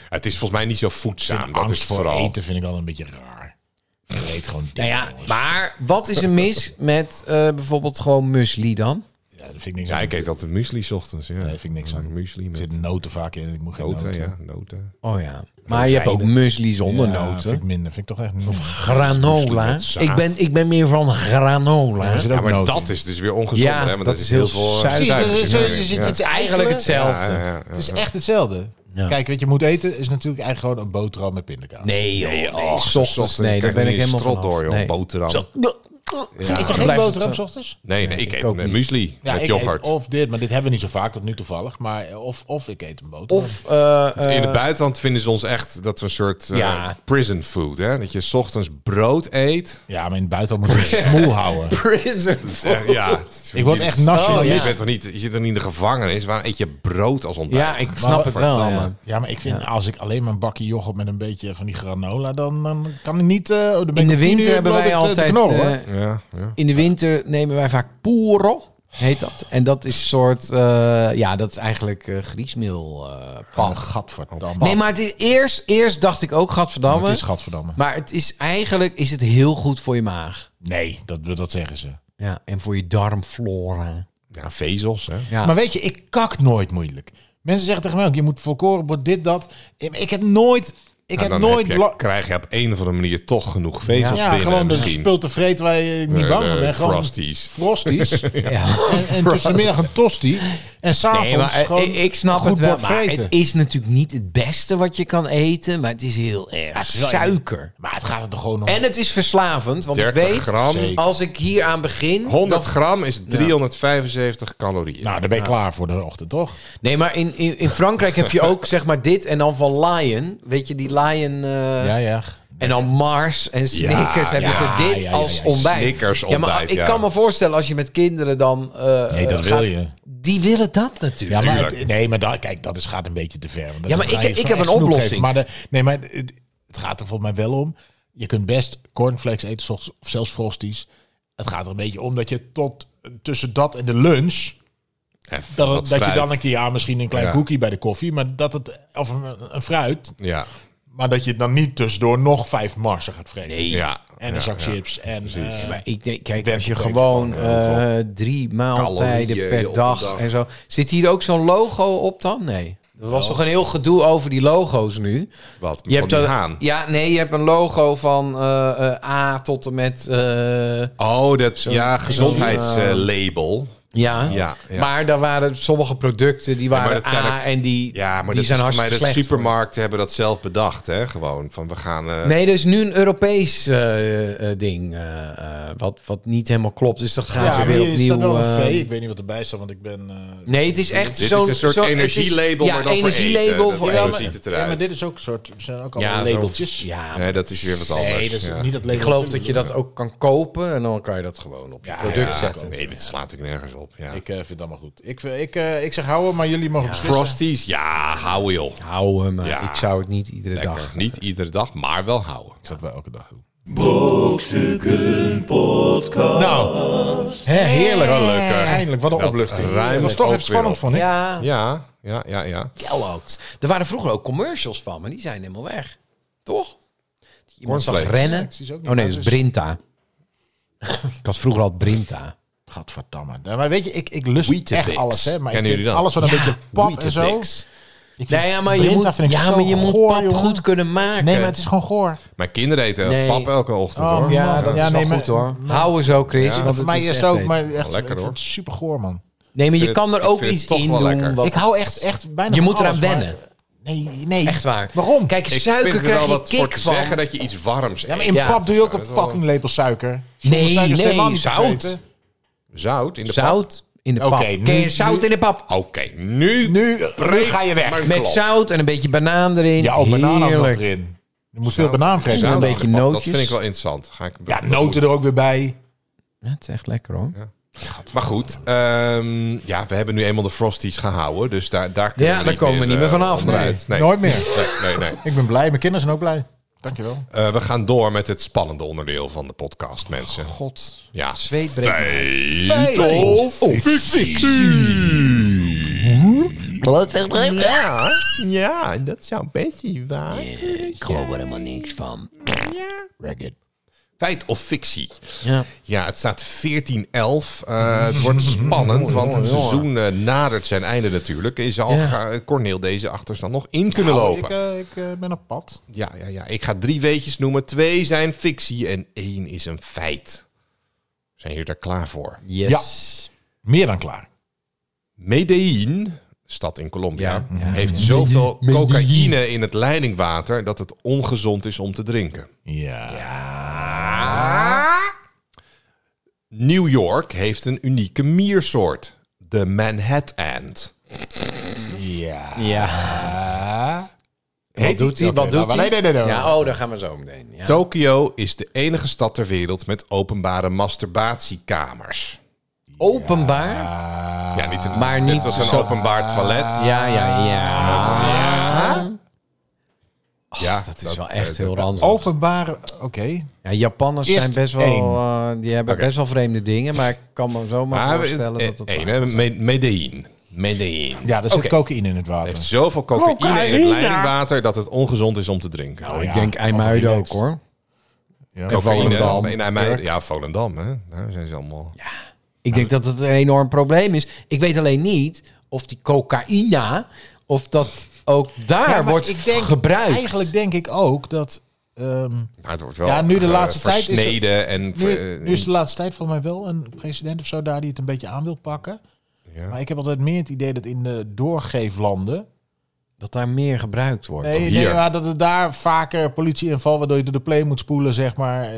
Het is volgens mij niet zo voedzaam, dat is angst het voor vooral. eten vind ik al een beetje raar. Je eet gewoon dingen, Nou ja, jongens. maar wat is er mis met eh, bijvoorbeeld gewoon muesli dan? Ja, dat vind ik niks Ja, aan. ik eet altijd muesli 's ochtends, ja. Nee, vind ik niks aan. Muesli Er met zitten noten vaak in en ik moet geen noten. noten, ja, noten. Oh ja. Maar je hebt ook muesli zonder Ja, noten. vind ik minder. Vind ik toch echt minder. Granola. met zaad. Ik ben, ik ben meer van granola. Er zit Ja, ook maar noten dat in. is dus weer ongezond, Ja, hè? Want dat er is zit heel heel veel eh, suiker. suiker. Precies, dat is- in. je zit- Ja. het is Eigenlijk hetzelfde. Ja, ja, ja. Het is echt hetzelfde. Ja. Kijk, wat je moet eten is natuurlijk eigenlijk gewoon een boterham met pindakaas. Nee, joh. Nee, Och, s ochtends, nee, krijg daar ben je ik helemaal strot vanaf. door, joh. Nee. Boterham. Zo. Oh, Eet je geen Blijft boterham het, 's eh, ochtends? Nee, nee, ik eet ook met niet. muesli Ja, met ik yoghurt. eet of dit, maar dit hebben we niet zo vaak, tot nu toevallig. Maar eh, of, of ik eet een boterham. Of eh, eh, In het buitenland vinden ze ons echt dat we een soort eh, Ja. prison food. Hè? Dat je 's ochtends brood eet. ja, maar in het buitenland moet je het smoel houden. Prison food. Eh, Ja, Ik word echt Oh, nationalist. je, bent toch niet, je zit toch niet in de gevangenis? Waar eet je brood als ontbijt? ja, ik snap het wel. Verdamme. ja. Ja, maar ik vind als ik alleen maar een bakje yoghurt met een beetje van die granola, dan, dan kan ik niet. eh, dan ben In ik de om tien winter uur hebben wel wij weer te- te altijd... knorren, hoor. eh, Ja, ja. in de winter nemen wij vaak poero, heet dat. En dat is soort... eh, ja, dat is eigenlijk eh griesmeel eh, pan. Gadverdamme. nee, maar het is, eerst, eerst dacht ik ook, gadverdamme. het is gadverdamme. Maar het is eigenlijk is het heel goed voor je maag. Nee, dat, dat zeggen ze. Ja, en voor je darmflora. ja, vezels. Hè? Ja. Maar weet je, ik kak nooit moeilijk. Mensen zeggen tegen mij ook, je moet volkoren, wordt dit, dat. Ik heb nooit... Ik Nou, heb dan nooit... heb je- la- krijg je op een of andere manier toch genoeg vezels ja, binnen. gewoon een misschien. spul te vreten waar je niet Eh, bang voor eh, bent. Gewoon Frosties. Frosties. en, ja. en tussen de middag een tosti. En s'avonds Nee, maar eh, gewoon ik, ik snap een goed het wel. bord Maar vreten. het is natuurlijk niet het beste wat je kan eten, maar het is heel erg is wel erg. suiker. Maar het gaat er toch gewoon om. En het is verslavend, want ik 30 weet, gram. Zeker. als ik hier aan begin... 100 dan- gram is 375 calorieën. nou, dan ben je klaar voor de ochtend, toch? Nee, maar in, in, in Frankrijk heb je ook zeg maar dit en dan van Lion. Weet je, die Lion... eh, ja, ja. En dan Mars en Snickers hebben ja, ze dit ja, ja, als ja, ontbijt. Snickers Ja, maar ontbijt, ik ja. kan me voorstellen als je met kinderen dan... eh, Nee, dat eh, wil gaat- je. Die willen dat natuurlijk. Ja, maar Tuurlijk. het- nee, maar dat, kijk, dat is, gaat een beetje te ver. Want dat Ja, maar ga ik- je ik zo'n heb een snoep oplossing. maar de, nee, maar het, het gaat er volgens mij wel om. Je kunt best cornflakes eten, 's ochtends, of zelfs frosties. Het gaat er een beetje om dat je tot tussen dat en de lunch... Even Dat, wat het- dat je fruit. dan een keer, ja, misschien een klein Ja. koekie bij de koffie, maar dat het, of een, een fruit, Ja, maar dat je dan niet tussendoor nog vijf marsen gaat vreten. ja. En een ja, zak ja. chips en... eh, Maar ik denk, kijk, denk als je dat ik gewoon dan heel eh, drie maaltijden calorieën op per een dag, dag. en zo. Zit hier ook zo'n logo op dan? Nee. Er was toch een heel gedoe over die logo's nu. Wat? Je hebt een dan- Ja, nee, je hebt een logo van eh, eh, A tot en met. eh, Oh, dat ja, gezondheidslabel. eh, ja. Ja, ja. Maar daar waren sommige producten die waren dat zijn A ook- en die, ja, maar die dat zijn is voor mij dat hartstikke slecht. supermarkten hebben dat zelf bedacht, hè? Gewoon van we gaan. eh, Nee, er is nu een Europees eh, eh, ding eh, eh, wat, wat niet helemaal klopt. Dus dat gaan ja, ze maar weer hier opnieuw... staat wel een eh, V. Ik weet niet wat erbij staat, want ik ben... eh, Nee, het is echt Dit zo'n... is een soort zo'n- het is- energielabel, ja, maar dan voor energielabel eten. Dat voor is zo eten. ziet het ja, eruit. maar dit is ook een soort... Er zijn ook Ja, allemaal zo'n- labeltjes. Ja, Nee, dat is weer wat anders. Nee, dat is ja. niet dat label. ik geloof dat je dat ook kan kopen en dan kan je dat gewoon op je product Ja, zetten. Nee, dit slaat ik nergens op. Ja. Ik eh, vind het allemaal goed. Ik, ik, eh, ik zeg houden, maar jullie mogen beslissen. Frosties, ja, hou joh. Hou hem, maar Ja. ik zou het niet iedere Lekker. dag. Niet iedere dag, maar wel houden. Dat wij elke dag doen. Brokstukken Podcast. Nou, hè, heerlijk. Wel leuk, hè? Eindelijk, wat een Dat opluchting. ruim Dat was ik toch ook even spannend, weer vond ik. Ja, Ja, ja, ja, ja. Kellogg's. Er waren vroeger ook commercials van, maar die zijn helemaal weg. Toch? Iemand zag Cornflakes. rennen. Cornflakes is ook niet Oh nee, meer, dat is dus- Brinta. ik had vroeger al Brinta. Gadverdamme. Ja, maar weet je, ik, ik lust Weetabix. echt alles, hè. Maar ik Kennen vind jullie dat? alles wat een Ja, beetje pap en zo. Weetabix. Ik vind Nou ja, maar je Brinta moet, vind ik ja, zo maar je moet goor, pap jongen. goed kunnen maken. Nee, maar het is gewoon goor. Mijn kinderen eten Nee. Oh, pap elke ochtend, hoor. man. Ja, dat Ja, is wel nee, maar- goed hoor. Hou er zo, Chris. Ja. want Voor het mij is is echt ook, beter. maar echt, lekker, ik vind hoor. het super goor, man. Nee, maar je vind het- kan er ik ook vind het iets toch in wel doen. lekker. Wat, Ik hou echt, echt bijna Je van moet eraan alles, maar- wennen. Nee, nee. Echt waar. Waarom? Kijk, Ik suiker vind er krijg wel je wat voor kick te van. zeggen dat je iets warms ja, maar eet. in Ja. pap doe je ook Ja, een dat is wel- fucking lepel suiker. Nee, suiker is nee, helemaal niet te zout. vreten. Zout in de pap. Oh, Zout in de Oké, pap. nu- Ken je zout nu- in de pap? Oké, nu, Nu, nu breekt ga je weg. mijn Met klap. zout en een beetje banaan erin. Ja, ook banaan ook nog Heerlijk. erin. Je moet veel banaan Zout vreten. een in de beetje pap. Dat nootjes. vind ik wel interessant. Ga ik Ja, noten er ook weer bij. Ja, het is echt lekker hoor. Ja, Maar goed, ehm, ja, we hebben nu eenmaal de Frosties gehouden. Dus daar, daar kunnen Ja, we daar niet komen we niet meer eh, vanaf, onderuit. Nee. Nooit meer. Nee, nee, nee. Ik ben blij. Mijn kinderen zijn ook blij. Dankjewel. Eh, we gaan door met het spannende onderdeel van de podcast, mensen. God. Ja. Zweet breekt me uit. Feit of fictie? Ja, ja, dat zou best waar Ik geloof er helemaal niks van. Feit of fictie? Ja. Ja, het staat 14-11. Eh, het wordt spannend, want het seizoen eh, nadert zijn einde natuurlijk. Is al Ja. ga- Corneel deze achterstand nog in kunnen Ik, lopen? eh, ik eh, ben op pad. Ja, ja, ja. Ik ga drie weetjes noemen. Twee zijn fictie en één is een feit. Zijn jullie daar klaar voor? Yes. Meer dan klaar. Medellin, stad in Colombia, Ja, heeft zoveel cocaïne in het leidingwater dat het ongezond is om te drinken. Ja. New York heeft een unieke miersoort. De Manhattan Ant. Ja. Ja. Heet Wat doet hij? Wat doet maar hij? nee, nee, nee, nee. Ja, oh, daar gaan we zo meteen. Ja. Tokio is de enige stad ter wereld met openbare masturbatiekamers. Openbaar? Ah. ja, niet een, maar niet het was een zo- openbaar toilet. Ja, ja, ja. ja, Oh, Dat is wel echt heel dat- Oh, ranzig. Openbaar, oké. Ja, Japanners Eerst zijn best wel, één. eh, die hebben Oké. best wel vreemde dingen, maar ik kan me zomaar Maar het- e- voorstellen dat het... één, hè, Me- Medellin. Medellin. Ja, er zit Oké. cocaïne in het Er water. heeft zoveel cocaïne in het leidingwater dat het ongezond is om te drinken. Nou, ik ja, denk IJmuiden ook relaxed. hoor. Ja. Cocaïne Volendam. In IJmuiden. Ja, Volendam. Hè. Daar zijn ze allemaal. Ik denk dat het een enorm probleem is. Ik weet alleen niet of die cocaïne, of dat ook daar Ja, maar wordt ik denk- gebruikt. Eigenlijk denk ik ook dat... ehm, Nou, het wordt wel Ja, nu de eh, laatste tijd is het- versneden en... nu, ver- nu is de laatste tijd volgens mij wel een president of zo daar die het een beetje aan wil pakken. Ja. Maar ik heb altijd meer het idee dat in de doorgeeflanden... Dat daar meer gebruikt wordt. Nee, nee hier. maar dat er daar vaker politie inval waardoor je door de play moet spoelen, zeg maar. Eh,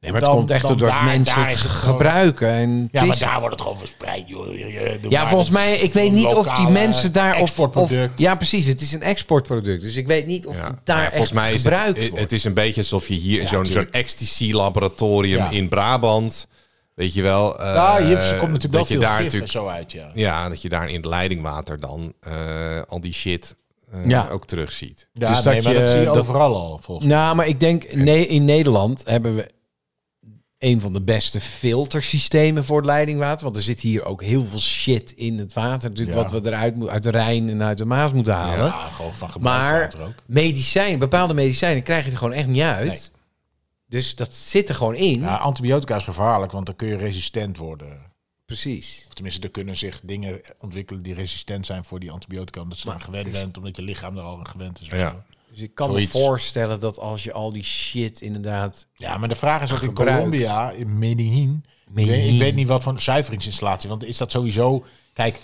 Nee, maar het komt echt door dat mensen het gebruiken. En Ja, maar pissen. daar wordt het gewoon verspreid, joh. Je- je- doe Ja, maar volgens dat- mij, ik weet een niet of die lokale mensen daar... Of, of, exportproduct. ja, precies. Het is een exportproduct. Dus ik weet niet of Ja, het daar maar ja, volgens echt mij is gebruikt het, wordt. het is een beetje alsof je hier in zo'n zo'n ecstasy-laboratorium Ja. in Brabant, weet je wel, eh, Ja, hier komt natuurlijk wel dat veel je daar gif natuurlijk, en zo uit, ja. Dus ja, dat je daar in het leidingwater dan eh, al die shit eh, Ja. ook terugziet. Ja, Dus nee, dat maar je- dat zie je dat- overal al, volgens mij. Nou, maar ik denk, nee, in Nederland hebben we een van de beste filtersystemen voor het leidingwater. Want er zit hier ook heel veel shit in het water. Natuurlijk Ja. wat we eruit moet, uit de Rijn en uit de Maas moeten halen. Ja, gewoon van maar gebruikt ook. medicijnen, bepaalde medicijnen krijg je er gewoon echt niet uit. Dus dat zit er gewoon in. Ja, antibiotica is gevaarlijk, want dan kun je resistent worden. Precies. Of tenminste, er kunnen zich dingen ontwikkelen die resistent zijn voor die antibiotica, omdat ze aan gewend bent, omdat je lichaam er al aan gewend is. of Ja. zo. Dus ik kan Zoiets. me voorstellen dat als je al die shit inderdaad... Ja, maar de vraag is ook in Gebruikt. Colombia, in Medellin. Medellin. Ik, weet, ik weet niet wat voor een zuiveringsinstallatie. Want is dat sowieso... Kijk,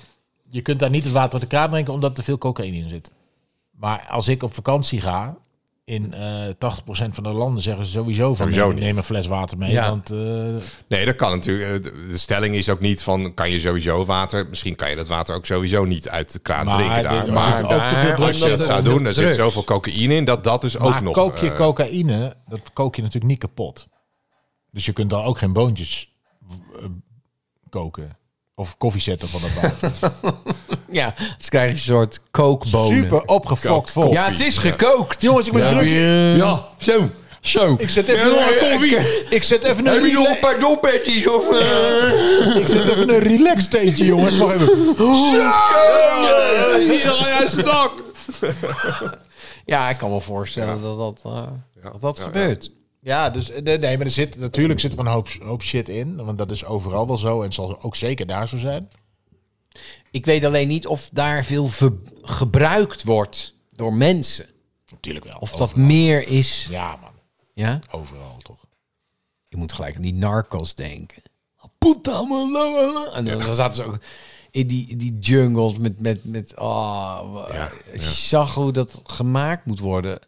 je kunt daar niet het water uit de kraan drinken omdat er veel cocaïne in zit. Maar als ik op vakantie ga, in eh 80% van de landen zeggen ze sowieso van... Sowieso neem, niet. neem een fles water mee, Ja. want... eh, Nee, dat kan natuurlijk. eh, De de stelling is ook niet van, kan je sowieso water, misschien kan je dat water ook sowieso niet uit de kraan Maar drinken dit- daar. maar Maar goed, ook te veel daar- drugs als je dat omdat- zou omdat doen, er zit drugs. zoveel cocaïne in, dat dat dus ook maar nog... kook je eh, cocaïne, dat kook je natuurlijk niet kapot. Dus je kunt daar ook geen boontjes eh, koken. Of koffie zetten van dat water. Ja, dus krijg je een soort kookbonen. Super opgefokt vol. Ja, het is gekookt. Jongens, ik ben druk. Ah, ja, zo, zo. Ik zet even een koffie. Ik zet even een, Heb je nog rela een paar dompetjes of... eh? ik zet even een relax steentje, jongens. Wacht even. Hier al jij stak. Ja, ik kan me voorstellen dat dat, eh, dat, dat gebeurt. Ja, dus eh, nee, nee, maar er zit natuurlijk zit er een hoop, hoop shit in, want dat is overal wel zo en zal ook zeker daar zo zijn. Ik weet alleen niet of daar veel ver- gebruikt wordt door mensen. Natuurlijk wel. Of dat meer is. Ja, man. Ja? Overal toch. Je moet gelijk aan die narcos denken. Puta man, la, la, la. En dan zaten ze ook in die, die jungles met... met, met ah, ik zag hoe dat gemaakt moet worden.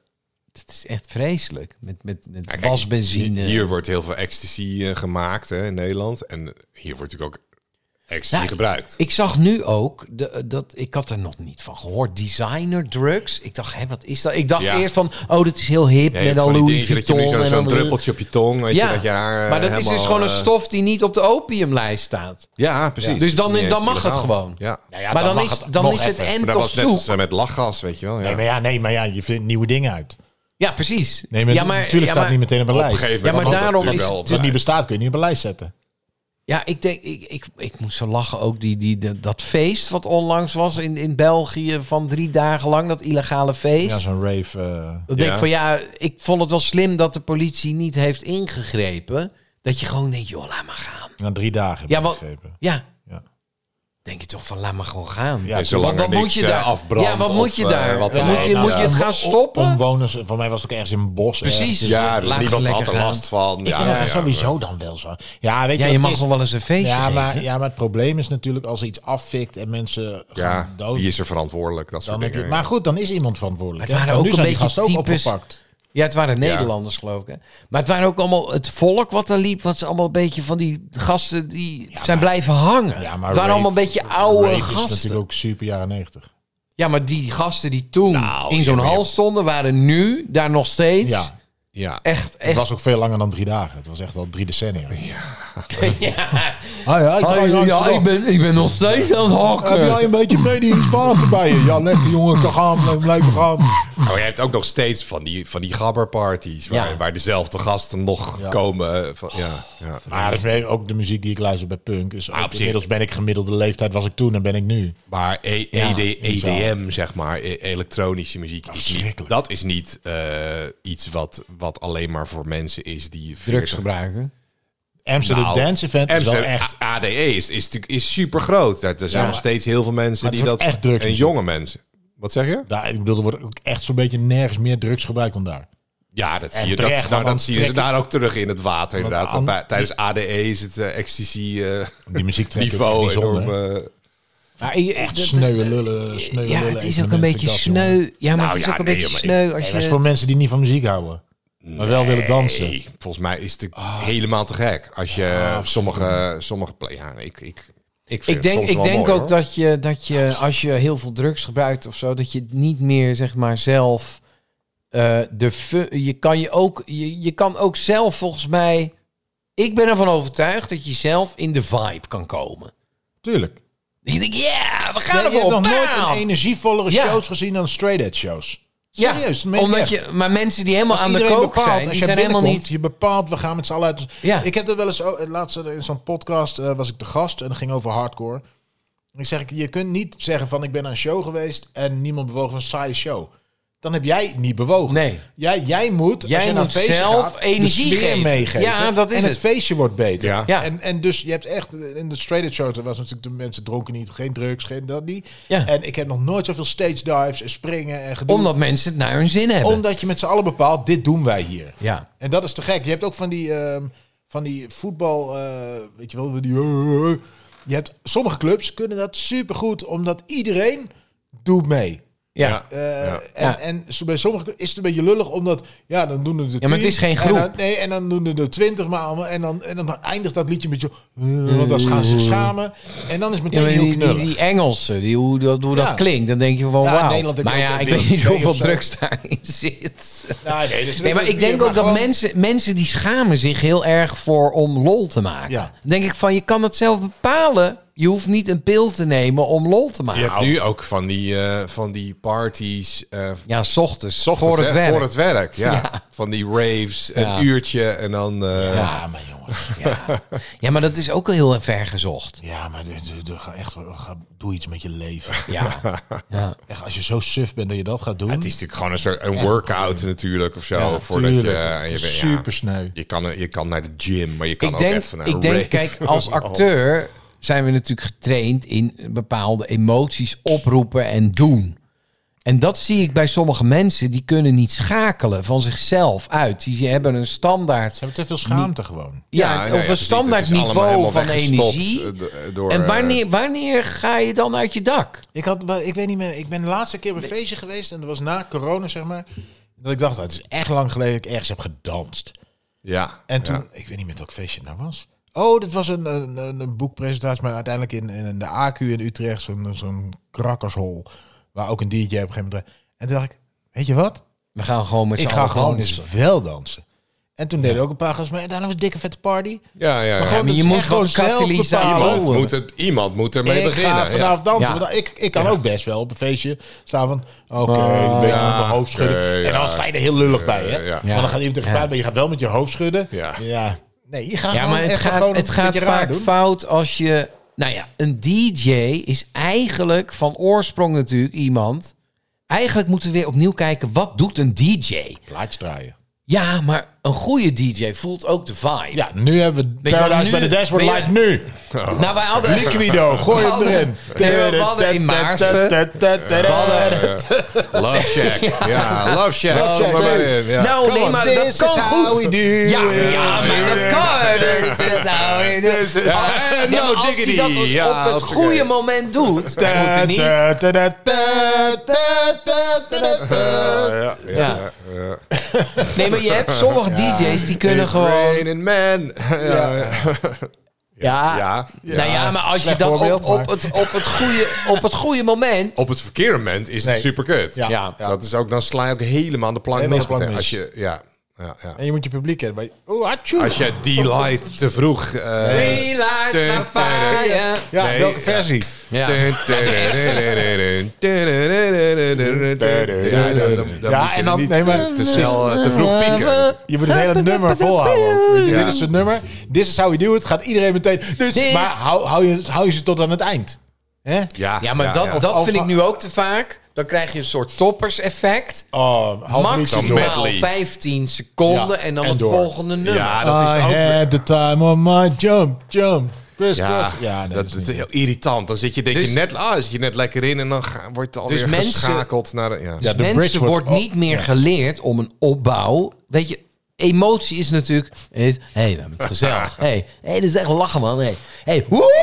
Het is echt vreselijk. Met, met, met kijk, wasbenzine. Hier wordt heel veel ecstasy eh, gemaakt hè, in Nederland. En hier wordt natuurlijk ook ecstasy Ja, gebruikt. Ik zag nu ook, de, eh, dat, ik had er nog niet van gehoord, designer drugs. Ik dacht, hè, wat is dat? Ik dacht Ja. eerst van, oh, dat is heel hip. Ja, je met hebt al van die Louis dingetje dat je Vuitton. nu zo- en zo'n dan- druppeltje op je tong, weet Ja, je, dat je haar, eh, maar dat is helemaal, dus gewoon een eh, stof die niet op de opiumlijst staat. Ja, precies. Dus dan- Niet eens dan mag het illegaal. gewoon. Ja. Maar ja, maar dan dan, mag is, het dan nog is het even. en dat toch was net zoek. als, eh, met lachgas, weet je wel. Ja. Nee, maar ja, nee, maar ja, je vindt nieuwe dingen uit. Ja, precies. Nee, maar ja, natuurlijk ja, staat het niet meteen op een Op een lijst. gegeven Als moment had maar dat daarom natuurlijk is wel het het op niet de bestaat kun je het niet op een lijst zetten. Ja, ik denk, ik, ik, ik moest zo lachen ook. Die, die, dat- dat feest wat onlangs was in, in België van drie dagen lang, dat illegale feest. Ja, zo'n rave. eh, Dan denk Ja. ik van ja, ik vond het wel slim dat de politie niet heeft ingegrepen. Dat je gewoon denkt, joh, laat maar gaan. na drie dagen. heb Ja, ik want- begrepen. Ja. Ja. Denk je toch van, laat maar gewoon gaan. Ja, En zolang Want er wat moet niks je eh, daar- afbrandt Ja, wat of, moet je eh, daar? wat dan Moet ook. je- moet je het nou om- gaan om- stoppen? Omwoners, voor mij was het ook ergens in een bos. ergens. Precies. Ja, Laat dus ze niemand lekker had er gaan. last van. Ik Ja, vind dat ja, dan sowieso dan wel zo. Ja, weet Ja, je, je wat mag is? nog wel eens een feestje Ja maar, geven. ja, maar het probleem is natuurlijk als er iets afvikt en mensen Ja, gaan dood. wie is er verantwoordelijk? Dat soort dan heb je, dingen. maar goed, dan is iemand verantwoordelijk. Maar het hè? waren Want ook nu een zijn die beetje gasten ook types- opgepakt. Ja, het waren Nederlanders, geloof ik. Hè? Maar het waren ook allemaal het volk wat er liep. Was allemaal een beetje van die gasten die zijn blijven hangen. Ja, maar het waren allemaal een beetje oude Rave is gasten. natuurlijk ook super jaren 90. Ja, maar die gasten die toen Nou, in ja, zo'n maar je- hal stonden, waren nu daar nog steeds. Ja. Ja. Echt, Het echt. was ook veel langer dan drie dagen. Het was echt al drie decennia. Ja, Ah ja, ik ga je langs de dag. ben, ik ben nog steeds aan het Heb jij een beetje medisch water bij je? Ja, lekker jongen, kan gaan, blijf- blijf gaan. Maar Oh, je hebt ook nog steeds van die, van die gabberparties. Waar, Ja. waar dezelfde gasten nog Ja. komen. eh, Van, ja, ja. Maar dat is meer ook de muziek die ik luister bij punk. Dus ook Ah, op zich. inmiddels ben ik gemiddelde leeftijd was ik toen en ben ik nu. Maar E- Ja, ED bizar. EDM, zeg maar, e- elektronische muziek, is niet, Verschrikkelijk. dat is niet eh, iets wat, wat alleen maar voor mensen is die... 40 Drugs gebruiken. Amsterdam Nou, Dance Event is wel Amsterdam, echt... A- ADE is, is, natuurlijk- is super groot. Er zijn nog maar- steeds heel veel mensen maar die het dat... wordt echt druk dus- en muziek. jonge mensen. Wat zeg je? Daar, ik bedoel, er wordt ook echt zo'n beetje nergens meer drugs gebruikt dan daar. Ja, dat En zie je, dat, terecht, nou, want dat dan zie je ze trekken- daar ook terug in het water. Inderdaad. an- Bij- tijdens ADE is het eh ecstasy eh, Die muziek trekt ook echt niveau niet zonder. enorm... hè. eh, Maar je- Echt dat- sneu lullen, sneu Ja, lullen het is evenement ook een vind beetje ik dat, jongen. sneu. Ja, maar Nou het is ja, ook een nee, beetje maar ik- sneu als Nee, je... dat is voor mensen die niet van muziek houden. Maar wel willen dansen. Ah. Nee, volgens mij is het helemaal te gek. Als je sommige, sommige pla- ja, ik, ik, ik, vind Ik denk, het soms ik wel denk mooi, ook hoor. dat je, dat je als je heel veel drugs gebruikt of zo, dat je het niet meer zeg maar zelf eh, de fu- je kan je ook je, je kan ook zelf volgens mij. Ik ben ervan overtuigd dat je zelf in de vibe kan komen. Tuurlijk. Dat je denkt, yeah, we Ja, gaan je hebt ervoor. nog nooit bam! een energievollere Ja. shows gezien dan straight edge shows. Ja, Serieus, dat meen ik omdat echt. je, maar mensen die helemaal Als aan de iedereen kook bepaalt, zijn, als die jij zijn helemaal binnenkomt, niet. Je bepaalt, we gaan met z'n allen uit. Dus Ja. Ik heb er wel eens, oh, het laatste in zo'n podcast eh, was ik de gast en dat ging over hardcore. En Ik zeg, je kunt niet zeggen van ik ben aan een show geweest en niemand bewoog van een saaie show. Dan heb jij niet bewogen. Nee. Jij, jij moet, Jij als je naar een moet feestje zelf gaat, energie de sfeer geven. meegeven. Ja, dat is en het. het. feestje wordt beter. Ja. Ja. En, en dus je hebt echt, eh, in de straight edge show, er was natuurlijk de mensen dronken niet, geen drugs, geen dat niet. Ja. En ik heb nog nooit zoveel stage dives en springen en gedoe. Omdat mensen het naar hun zin hebben. Omdat je met z'n allen bepaalt, dit doen wij hier. eh, Ja. En dat is te gek. Je hebt ook van die, ehm, van die voetbal, eh, weet je wel, die... je hebt, sommige clubs kunnen dat supergoed, omdat iedereen doet mee. Ja. Ja. Eh, Ja. En, Ja. en zo- bij sommige clubs is het een beetje lullig, omdat ja, dan doen er de Ja, maar het 10, is geen en groep. dan- nee, en dan doen er de twintig maar allemaal. En dan, en dan eindigt dat liedje met je. eh, want dan gaan ze zich schamen. En dan is het Ja, meteen maar heel die, die, knullig. die Engelsen, die, hoe, dat, hoe Ja. dat klinkt, dan denk je van Ja, in wauw. Nederland heb je Maar ook ja, een ik weet niet wereldtop hoeveel of zo. drugs daarin zit. Ja, nee, dus Nee, maar dat ik is denk weer ook dat gewoon- mensen, mensen die schamen zich heel erg voor om lol te maken. Ja. Dan denk ik van, je kan het zelf bepalen. Je hoeft niet een pil te nemen om lol te Je maken. Nou. hebt nu ook van die, eh, van die parties eh, Ja, s ochtends, s ochtends, voor het hè, werk. voor het werk. Ja. Van die raves, Ja. een uurtje en dan... eh, Ja, maar jongens. Ja. ja, maar dat is ook heel ver gezocht. Ja, maar de- de- de- ga echt, ga- doe iets met je leven. Ja. ja. Echt, als je zo suf bent dat je dat gaat doen. Het is natuurlijk gewoon een soort een workout natuurlijk of zo. Ja, voordat je, tuurlijk. en Het je is bent- ja, super sneu. je, kan, eh, je kan naar de gym, maar je kan Ik ook denk, even naar een ik denk rave. kijk, als acteur zijn we natuurlijk getraind in bepaalde emoties oproepen en doen. En dat zie ik bij sommige mensen, die kunnen niet schakelen van zichzelf uit. Die hebben een standaard, Ze hebben te veel schaamte gewoon. ja, nou of een precies. Het standaard is allemaal helemaal niveau van weggestopt, energie. eh, do- eh, door, en eh, wanneer, wanneer ga je dan uit je dak? Ik, had, wel- ik weet niet meer, ik ben de laatste keer op een feestje geweest en dat was na corona, zeg maar. Dat ik dacht, ah, het is echt lang geleden dat ik ergens heb gedanst. ja, En toen, ja. ik weet niet meer welk feestje het nou was. Oh, dit was een, een, een- een boekpresentatie, maar uiteindelijk in, in de AQ in Utrecht, zo'n zo'n krakkershol, waar ook een DJ op een gegeven moment... En toen dacht ik, weet je wat? We gaan gewoon met z'n Ik ga allen gewoon dansen. eens wel dansen. En toen deden ook een paar gasten mee. En daarna was het dikke vette party. ja, ja, ja. gewoon- Maar dat je is moet echt gewoon gewoon zelf katalysatoren. bepalen. Iemand, moet het, iemand moet ermee ik beginnen. ga ja. vanavond dansen. Ja. want ik, ik kan ook best wel op een feestje staan van... Oké, Ah, een beetje Oh, ja, met mijn hoofd schudden. oké, en dan ja. sta je er heel lullig bij, hè? Eh, ja. Want dan gaat iemand tegen Ja. mij, maar je gaat wel met je hoofd schudden. Ja. Nee, je gaat Ja, gewoon maar het echt gewoon gaat, het een gaat beetje raar vaak doen. fout als je... Nou ja, een DJ is eigenlijk van oorsprong natuurlijk iemand... Eigenlijk moeten we weer opnieuw kijken, wat doet een DJ? Plaatjes draaien. Ja, maar een goede DJ voelt ook de vibe. Ja, nu hebben we je wel, Paradise nu- bij de Dashboard ben je- Light nu. Oh. Nou, wij hadden Liquido, gooi We hem hadden- erin. Nee, we hadden in Maarsen. We hadden- Eh, Love Shack. Ja, Love Shack. Love Kom Shack. er maar in. Ja. Nou, nee, maar dat this is dus kan how goed. we do Ja, it. ja, maar dat kan. Dat is Ja, nou- Ja, eh, maar no als hij diggity. dat op- Ja, op het hartstikke. goede moment doet, hij moet er niet. Ta- ta- ta- ta- ta- ta- ta- ta. Ja, ja, Ja. ja. Nee, maar je hebt sommige DJ's die kunnen It's gewoon. raining man. Ja, ja. Ah. Ja, Ja. Nou ja, maar als je Slecht dat op, voorbeeld, op, maar- het, op, het goede, op het goede moment. Op het verkeerde moment is Nee. het super kut. Ja. Ja. Dat is ook, dan sla je ook helemaal aan de plank Helemaal mis. de plank meteen. Als mis. je, ja, ja, ja. En je moet je publiek hebben. Oh, maar je- Oeh, atjoe. Als je delight te vroeg. eh, Hey, laat Tun, maar varen. Ja, Nee, welke ja. versie? Ja. Dun, dun, dun, dun, dun, dun. Ja, dan- dan- dan Ja, moet je en dan- niet nee, maar- te- te snel, eh, te vroeg pieken. Je moet het hele nummer volhouden. ook. Weet je, Dit is het nummer. Dit is how we do it. Gaat iedereen meteen. Dus, Dit- maar hou, hou, je, hou je ze tot aan het eind. Hè? Ja, Ja, maar dat, ja. dat Of- vind of- ik nu ook te vaak. Dan krijg je een soort toppers-effect. Oh, half minuutje door. met- Maximaal medley. 15 seconden Ja, en dan en het door. volgende nummer. Ja, dat is I ook weer- had the time on my jump, jump. Chris Ja, Cross. Ja, nee, dat, dat is is niet- heel irritant. Dan zit je, denk Dus- je, net, ah, zit je net lekker in en dan ga- wordt het alweer Dus mensen- geschakeld naar... de- Ja. Ja, de bridge Mensen wordt wordt op- niet meer geleerd om een opbouw. Weet je, emotie is natuurlijk. Hé, hey, we hebben het gezellig. Hé, hey, hey, dat is echt lachen, man. Hé, hey, woe!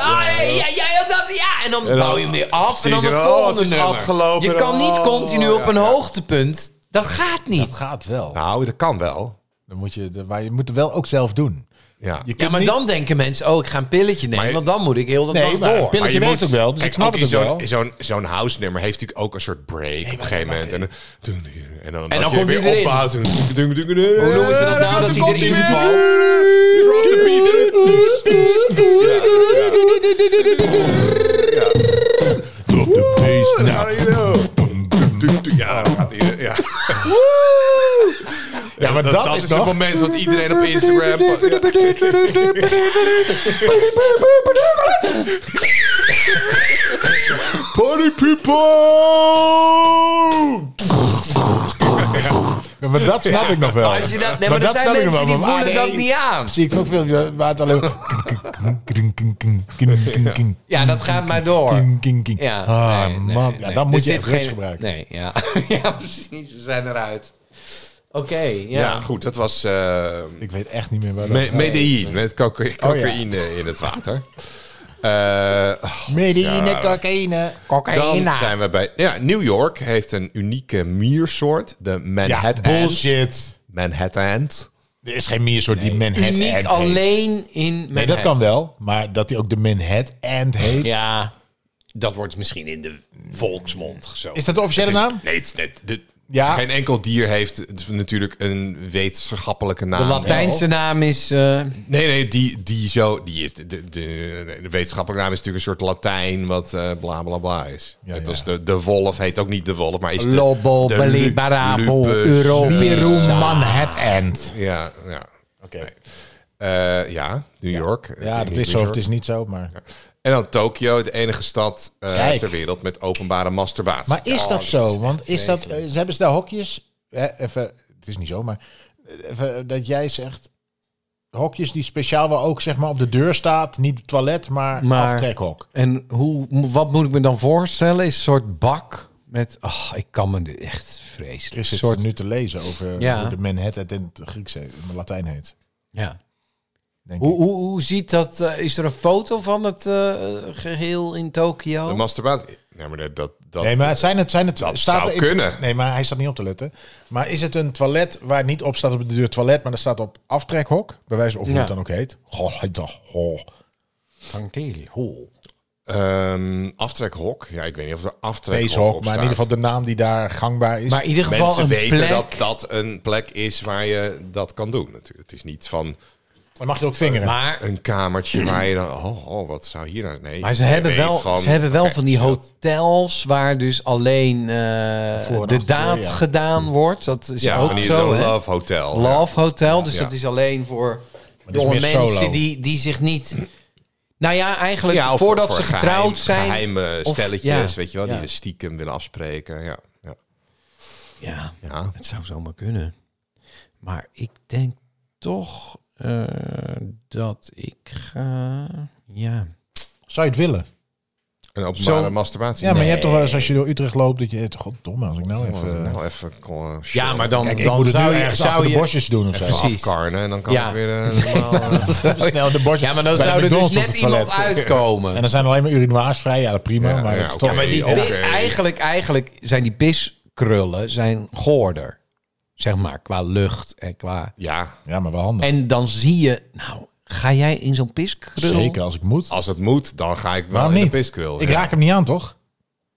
Ah, hey, ja, jij ook dat? Ja! En dan dan- bouw je hem weer af. En dan het precies, oh, volgende het is nummer. afgelopen. Je kan niet Oh, continu op ja, een ja. hoogtepunt. Dat gaat niet. Dat gaat wel. Nou, dat kan wel. Dan moet je, de- maar je moet het wel ook zelf doen. Ja. Je Ja, kunt maar niet- dan denken mensen, oh, ik ga een pilletje nemen, Maar- want dan moet ik heel dat Nee, dag maar een door. pilletje je werkt ook wel, dus ik en snap ook het in ook zo'n, wel. Zo'n, zo'n house nummer heeft natuurlijk ook een soort break op een gegeven moment. En dan, en dan, als dan je komt weer hij erin. opbouwt. Hoe noemen Hoe noemen ze dat nou, dat hij erin valt? Drop the beat. Drop the bass now. Ja, Ja, dan gaat hij. Ja. Ja, maar dat, is, het nog... moment wat iedereen op Instagram... Ja. Party people! Ja, maar dat snap ik nog wel. Maar als je dat, nee, maar, er zijn mensen die voelen dat niet aan. Zie ik veel filmpjes waar het alleen... Ja, dat gaat maar door. Ja, Ah, nee, nee, man. Ja, nee. dan Er moet je zit echt drugs geen- gebruiken. Nee, ja. ja, precies. We zijn eruit. Oké, ja. Ja, goed, dat was eh Ik weet echt niet meer waar dat... me- Medellin met Oh, coca- cocaïne in het water. Eh, Medine, Ja. cocaïne. Cocaïna. dan zijn we bij... Ja, New York heeft een unieke miersoort, de Ja, Manhattan. bullshit. Manhattan ant. Er is geen meer soort die Manhattan Uniek heet. alleen in Manhattan. Nee, dat kan wel. Maar dat hij ook de Manhattan heet. Ja, dat wordt misschien in de volksmond gezogen. Is dat de officiële Het is- naam? Nee, het is net... de- Ja. Geen enkel dier heeft natuurlijk een wetenschappelijke naam. De Latijnse naam is... eh, Nee, nee, die, die zo. Die is, de, de, de, de wetenschappelijke naam is natuurlijk een soort Latijn, wat eh, bla bla bla is. Ja, Net ja. als de, de wolf heet ook niet de wolf, maar is de. Lobo, de lu- Belibarabo, lupus, Europeo. Piero Manhattan. Ja, ja. Oké. Eh, ja, New York. Ik Ja, weet dat is niet, New zo. of York. Het is niet zo, maar... En dan Tokio, de enige stad eh, Kijk. ter wereld met openbare masturbatie. Maar is dat zo? Want is dat, eh, ze hebben ze daar hokjes? Hè, even, het is niet zo, maar eh, even, eh, dat jij zegt hokjes die speciaal wel ook zeg maar op de deur staat, niet het toilet, maar, Maar- aftrekhok. En hoe, mo- wat moet ik me dan voorstellen? Is een soort bak met... Ach, ik kan me dit echt vreselijk. Chris Een is soort, nu te lezen over Ja. hoe de Manhattan in het Grieks heet, in het Latijn heet. ja. Denk Hoe, ik. hoe, hoe ziet dat? eh, is er een foto van het eh, geheel in De Tokio? masturbatie. Nee, maar dat. dat, dat Nee, maar zijn het, zijn het, dat staat zou er- kunnen. Nee, maar hij staat niet op te letten. Maar is het een toilet waar niet op staat op de deur toilet, maar er staat op aftrekhok, bij wijze of hoe Ja. het dan ook heet? Goh, hij dacht, goh. Gangteli, hol. Ehm, aftrekhok. Ja, ik weet niet of er aftrekhok Peeshok, op maar in ieder geval de naam die daar gangbaar is. Maar in ieder geval Mensen een weten plek. dat dat een plek is waar je dat kan doen. Natuurlijk. Het is niet van Dan mag je ook vingeren. Maar, een kamertje waar je dan... Oh, oh, wat zou hier nou... Nee, maar ze, je hebben weet wel, ze hebben wel oké, van die dus dat- hotels waar dus alleen eh, Voor- en de achterdeur, daad ja. gedaan wordt. Dat is Ja, ook van die zo. hè? Love Hotel. Love Hotel. Dus Oh, Ja. dat is alleen voor dat is jonge meer solo. mensen die, die zich niet... Nou ja, eigenlijk Ja, of voordat voor ze geheim- getrouwd zijn. Geheime Of- stelletjes, ja, weet je wel, ja. die de stiekem willen afspreken. Ja, ja. Ja, ja. het zou zomaar kunnen. Maar ik denk toch eh, dat ik ga... Ja. Zou je het willen? Een openbare Zo- masturbatie. Ja, maar je hebt toch wel eens Nee. als je door Utrecht loopt dat je... eh, Goddomme, als ik nou Nou, even... nou even kon- ja, maar dan, Kijk, ik dan moet het nu zou je... ergens achter Zou de je bosjes doen of zo. even precies. afkarnen en dan kan Ja. ik weer... eh, normaal, eh, Snel de bosjes. ja, maar dan bij de zou er McDonald's dus op net het toilet. iemand uitkomen. En dan zijn alleen maar urinoirs vrij. Ja, dat prima. Ja, maar ja, dat is oké. toch... Ja, maar die, Oké. die- eigenlijk, eigenlijk zijn die piskrullen zijn goorder. Zeg maar, qua lucht en qua... ja, Ja, maar wel handig. En dan zie je... Nou, ga jij in zo'n piskrul? Zeker als ik moet. Oh, als het moet, dan ga ik wel Waarom in de niet? piskrul. Ik ja. raak hem niet aan, toch?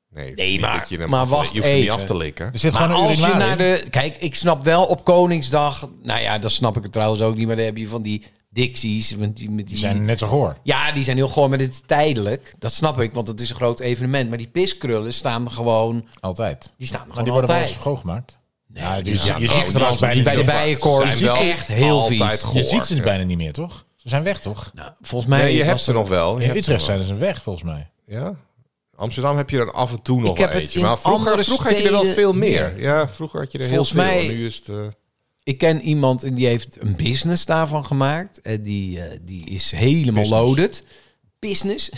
Nee, het is Nee, niet maar- dat je hem maar af- wacht Je hoeft hem niet even. Dus af te likken. Er zit Maar gewoon een als je urinoir naar in. de... Kijk, ik snap wel op Koningsdag... Nou ja, dat snap ik het trouwens ook niet. Maar dan heb je van die Dixies. Met die, met die, Die zijn net zo goor. Ja, die zijn heel goor, maar dit is tijdelijk. Dat snap ik, want het is een groot evenement. Maar die piskrullen staan er gewoon... Altijd. Die staan er Maar die gewoon worden wel altijd. eens schoongemaakt. Ja, die- Ja, je nou, ziet ze trouwens bijna bij die- niet bij de meer. bijenkorf Zijn ziet wel ze echt heel altijd vies. goor. Je ziet ze Ja. bijna niet meer, toch? Ze zijn weg, toch? Nou, Volgens mij... Nee, je was hebt ze er- nog wel. Je In hebt ze Utrecht nog. zijn ze weg, volgens mij. Ja. Amsterdam heb je er af en toe nog Ik heb wel het eentje. in Maar vroeger, andere vroeger had je er wel steden veel meer. Ja, vroeger had je er Volgens heel veel. mij- en Nu is het... eh, Ik ken iemand en die heeft een business daarvan gemaakt. En die, eh, die is helemaal Business. loaded. Business?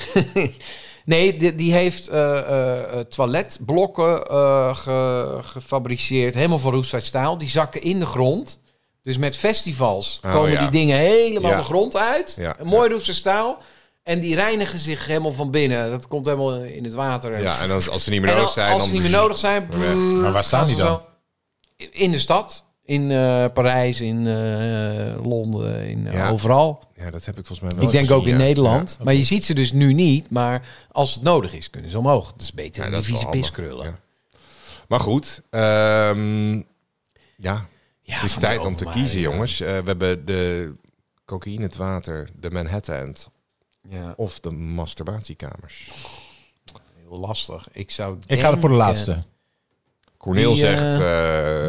nee, die, die heeft eh, eh, eh, toiletblokken eh, ge- gefabriceerd. Helemaal van roestvrij staal. Die zakken in de grond. Dus met festivals Oh, komen ja. die dingen helemaal Ja. de grond uit. Ja, Een mooi roestvrij staal. En die reinigen zich helemaal van binnen. Dat komt helemaal in het water. ja, en als, als ze niet En meer nodig als- zijn... als dan ze niet meer nodig zijn... brrr, Maar waar staan gaan die ze dan? zo- In de stad. In eh, Parijs, in eh, Londen, in, eh, Ja. overal. Ja, dat heb ik volgens mij wel Ik denk gezien, ook in ja. Nederland. Ja. Maar je ziet ze dus nu niet. Maar als het nodig is, kunnen ze omhoog. Dat is beter Ja, dan dat die is wel vieze handig. piskrullen. Ja. Maar goed, ehm, ja, Ja, het is van tijd de om te openbare, kiezen, ja. jongens. Eh, we hebben de cocaïne, het water, de Manhattan End Ja, of de masturbatiekamers. heel lastig. Ik eh, zou Ik ga er voor de denken- laatste. Corneel Die, eh, zegt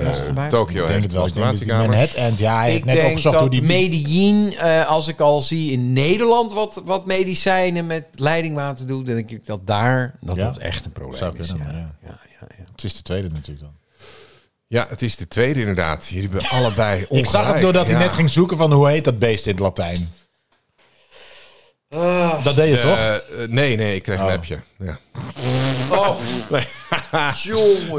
eh masturbatie- Tokio Ik denk het wel. heeft de Ik denk dat die masturbatiekamers. Manhattan, ja, hij Ik heeft net denk opgezocht dat door die... Medellin, eh, als ik al zie in Nederland wat, wat medicijnen met leidingwater doen, dan denk ik dat daar dat, Ja. dat echt een probleem Zou is. kunnen, ja. maar ja. Ja, ja, ja. Het is de tweede natuurlijk dan. Ja, het is de tweede inderdaad. Jullie hebben allebei Ik zag het ongelijk. doordat Ja. hij net ging zoeken van hoe heet dat beest in het Latijn. dat deed je toch? Eh, eh, nee, nee, ik kreeg Oh. een appje. Ja. Oh, jongen,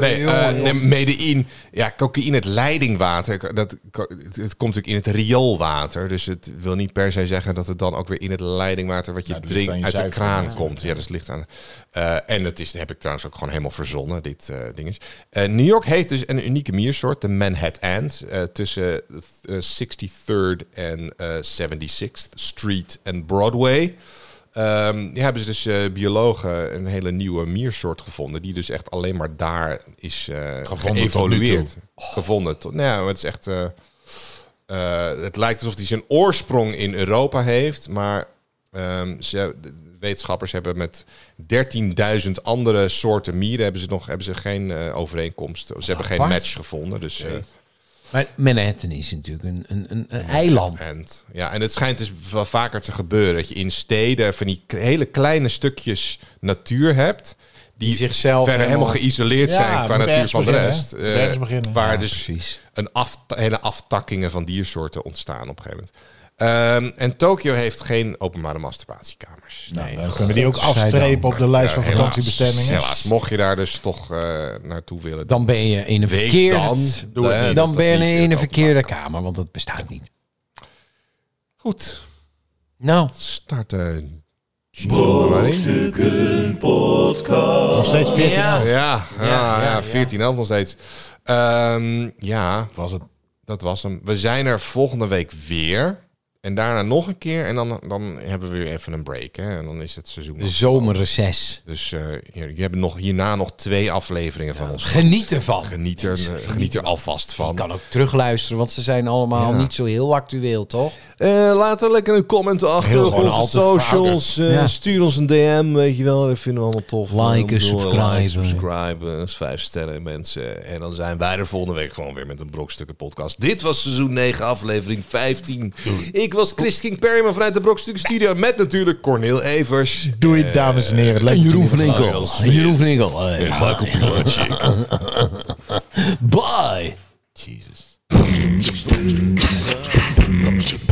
Nee, jongen, eh, jongen. nee, Medellin. Ja, cocaïne, het leidingwater. Dat, het, het komt natuurlijk in het rioolwater. Dus het wil niet per se zeggen dat het dan ook weer in het leidingwater... wat je Ja, dat ligt drinkt aan je uit de zuiver- kraan ja. komt. Ja, dat is licht aan. Eh, en dat is, heb ik trouwens ook gewoon helemaal verzonnen, dit eh ding is. Eh, New York heeft dus een unieke miersoort, de Manhattan Ant. eh, tussen eh, 63rd en eh, 76th Street en Broadway. Ehm ja, hebben ze dus eh, biologen een hele nieuwe miersoort gevonden. Die dus echt alleen maar daar is eh Gevonden geëvolueerd. Gevonden. Tot, nou ja, maar het is echt... eh, eh, het lijkt alsof die zijn oorsprong in Europa heeft. Maar ehm, ze, de wetenschappers hebben met 13.000 andere soorten mieren... hebben ze, nog, hebben ze geen eh, overeenkomst. Ze hebben geen apart. match gevonden. Dus... eh, Maar Manhattan is natuurlijk een, een, een, een eiland. End. Ja, en het schijnt dus wel vaker te gebeuren dat je in steden van die k- hele kleine stukjes natuur hebt. Die, Die zichzelf verder helemaal helemaal- geïsoleerd Ja, zijn moet qua natuur ergens van de beginnen, rest. hè? Eh, Moet ergens beginnen. Waar Ja, dus precies. een af, hele aftakkingen van diersoorten ontstaan op een gegeven moment. Ehm, en Tokio heeft geen openbare masturbatiekamers. Nou, dan kunnen we die ook afstrepen op de Ja, lijst van helaas. vakantiebestemmingen. Helaas, mocht je daar dus toch eh, naartoe willen. Dan ben je in een Weet verkeerd... dat. Doe het Dan, niet. dan ben je Dat niet in in een het verkeerde kamer, want dat bestaat niet. Goed, Nou, starten. Brokstukken Podcast. Nog steeds 14 Ja. jaar. Ja, ja, ja, ja, ja. 14 elf nog steeds. Ehm, ja, Was het. dat was hem. We zijn er volgende week weer. En daarna nog een keer. En dan, dan hebben we weer even een break. Hè? En dan is het seizoen. de Dus, zomerreces. dus eh, ja, je hebt nog, hierna nog twee afleveringen van ons. Geniet ervan. Geniet er, eh, geniet er alvast Je van. kan ook terugluisteren, want ze zijn allemaal Ja. niet zo heel actueel, toch? Eh, laat er lekker een comment achter Heel op gewoon onze altijd socials. Eh, Ja. Stuur ons een DM, weet je wel. Dat vinden we allemaal tof. eh, Liken, Ik bedoel, subscriben. subscriben. Dat is vijf sterren, mensen. En dan zijn wij er volgende week gewoon weer met een Brokstukken podcast. Dit was seizoen 9, aflevering 15. Ik was Chris King Perryman vanuit de Brokstukken studio. Met natuurlijk Cornel Evers. Doei, dames Eh, en heren. Leuk dat jullie er waren. En Jeroen van Enkel. Eh, Michael Plachik. Bye! Jesus. Thank you.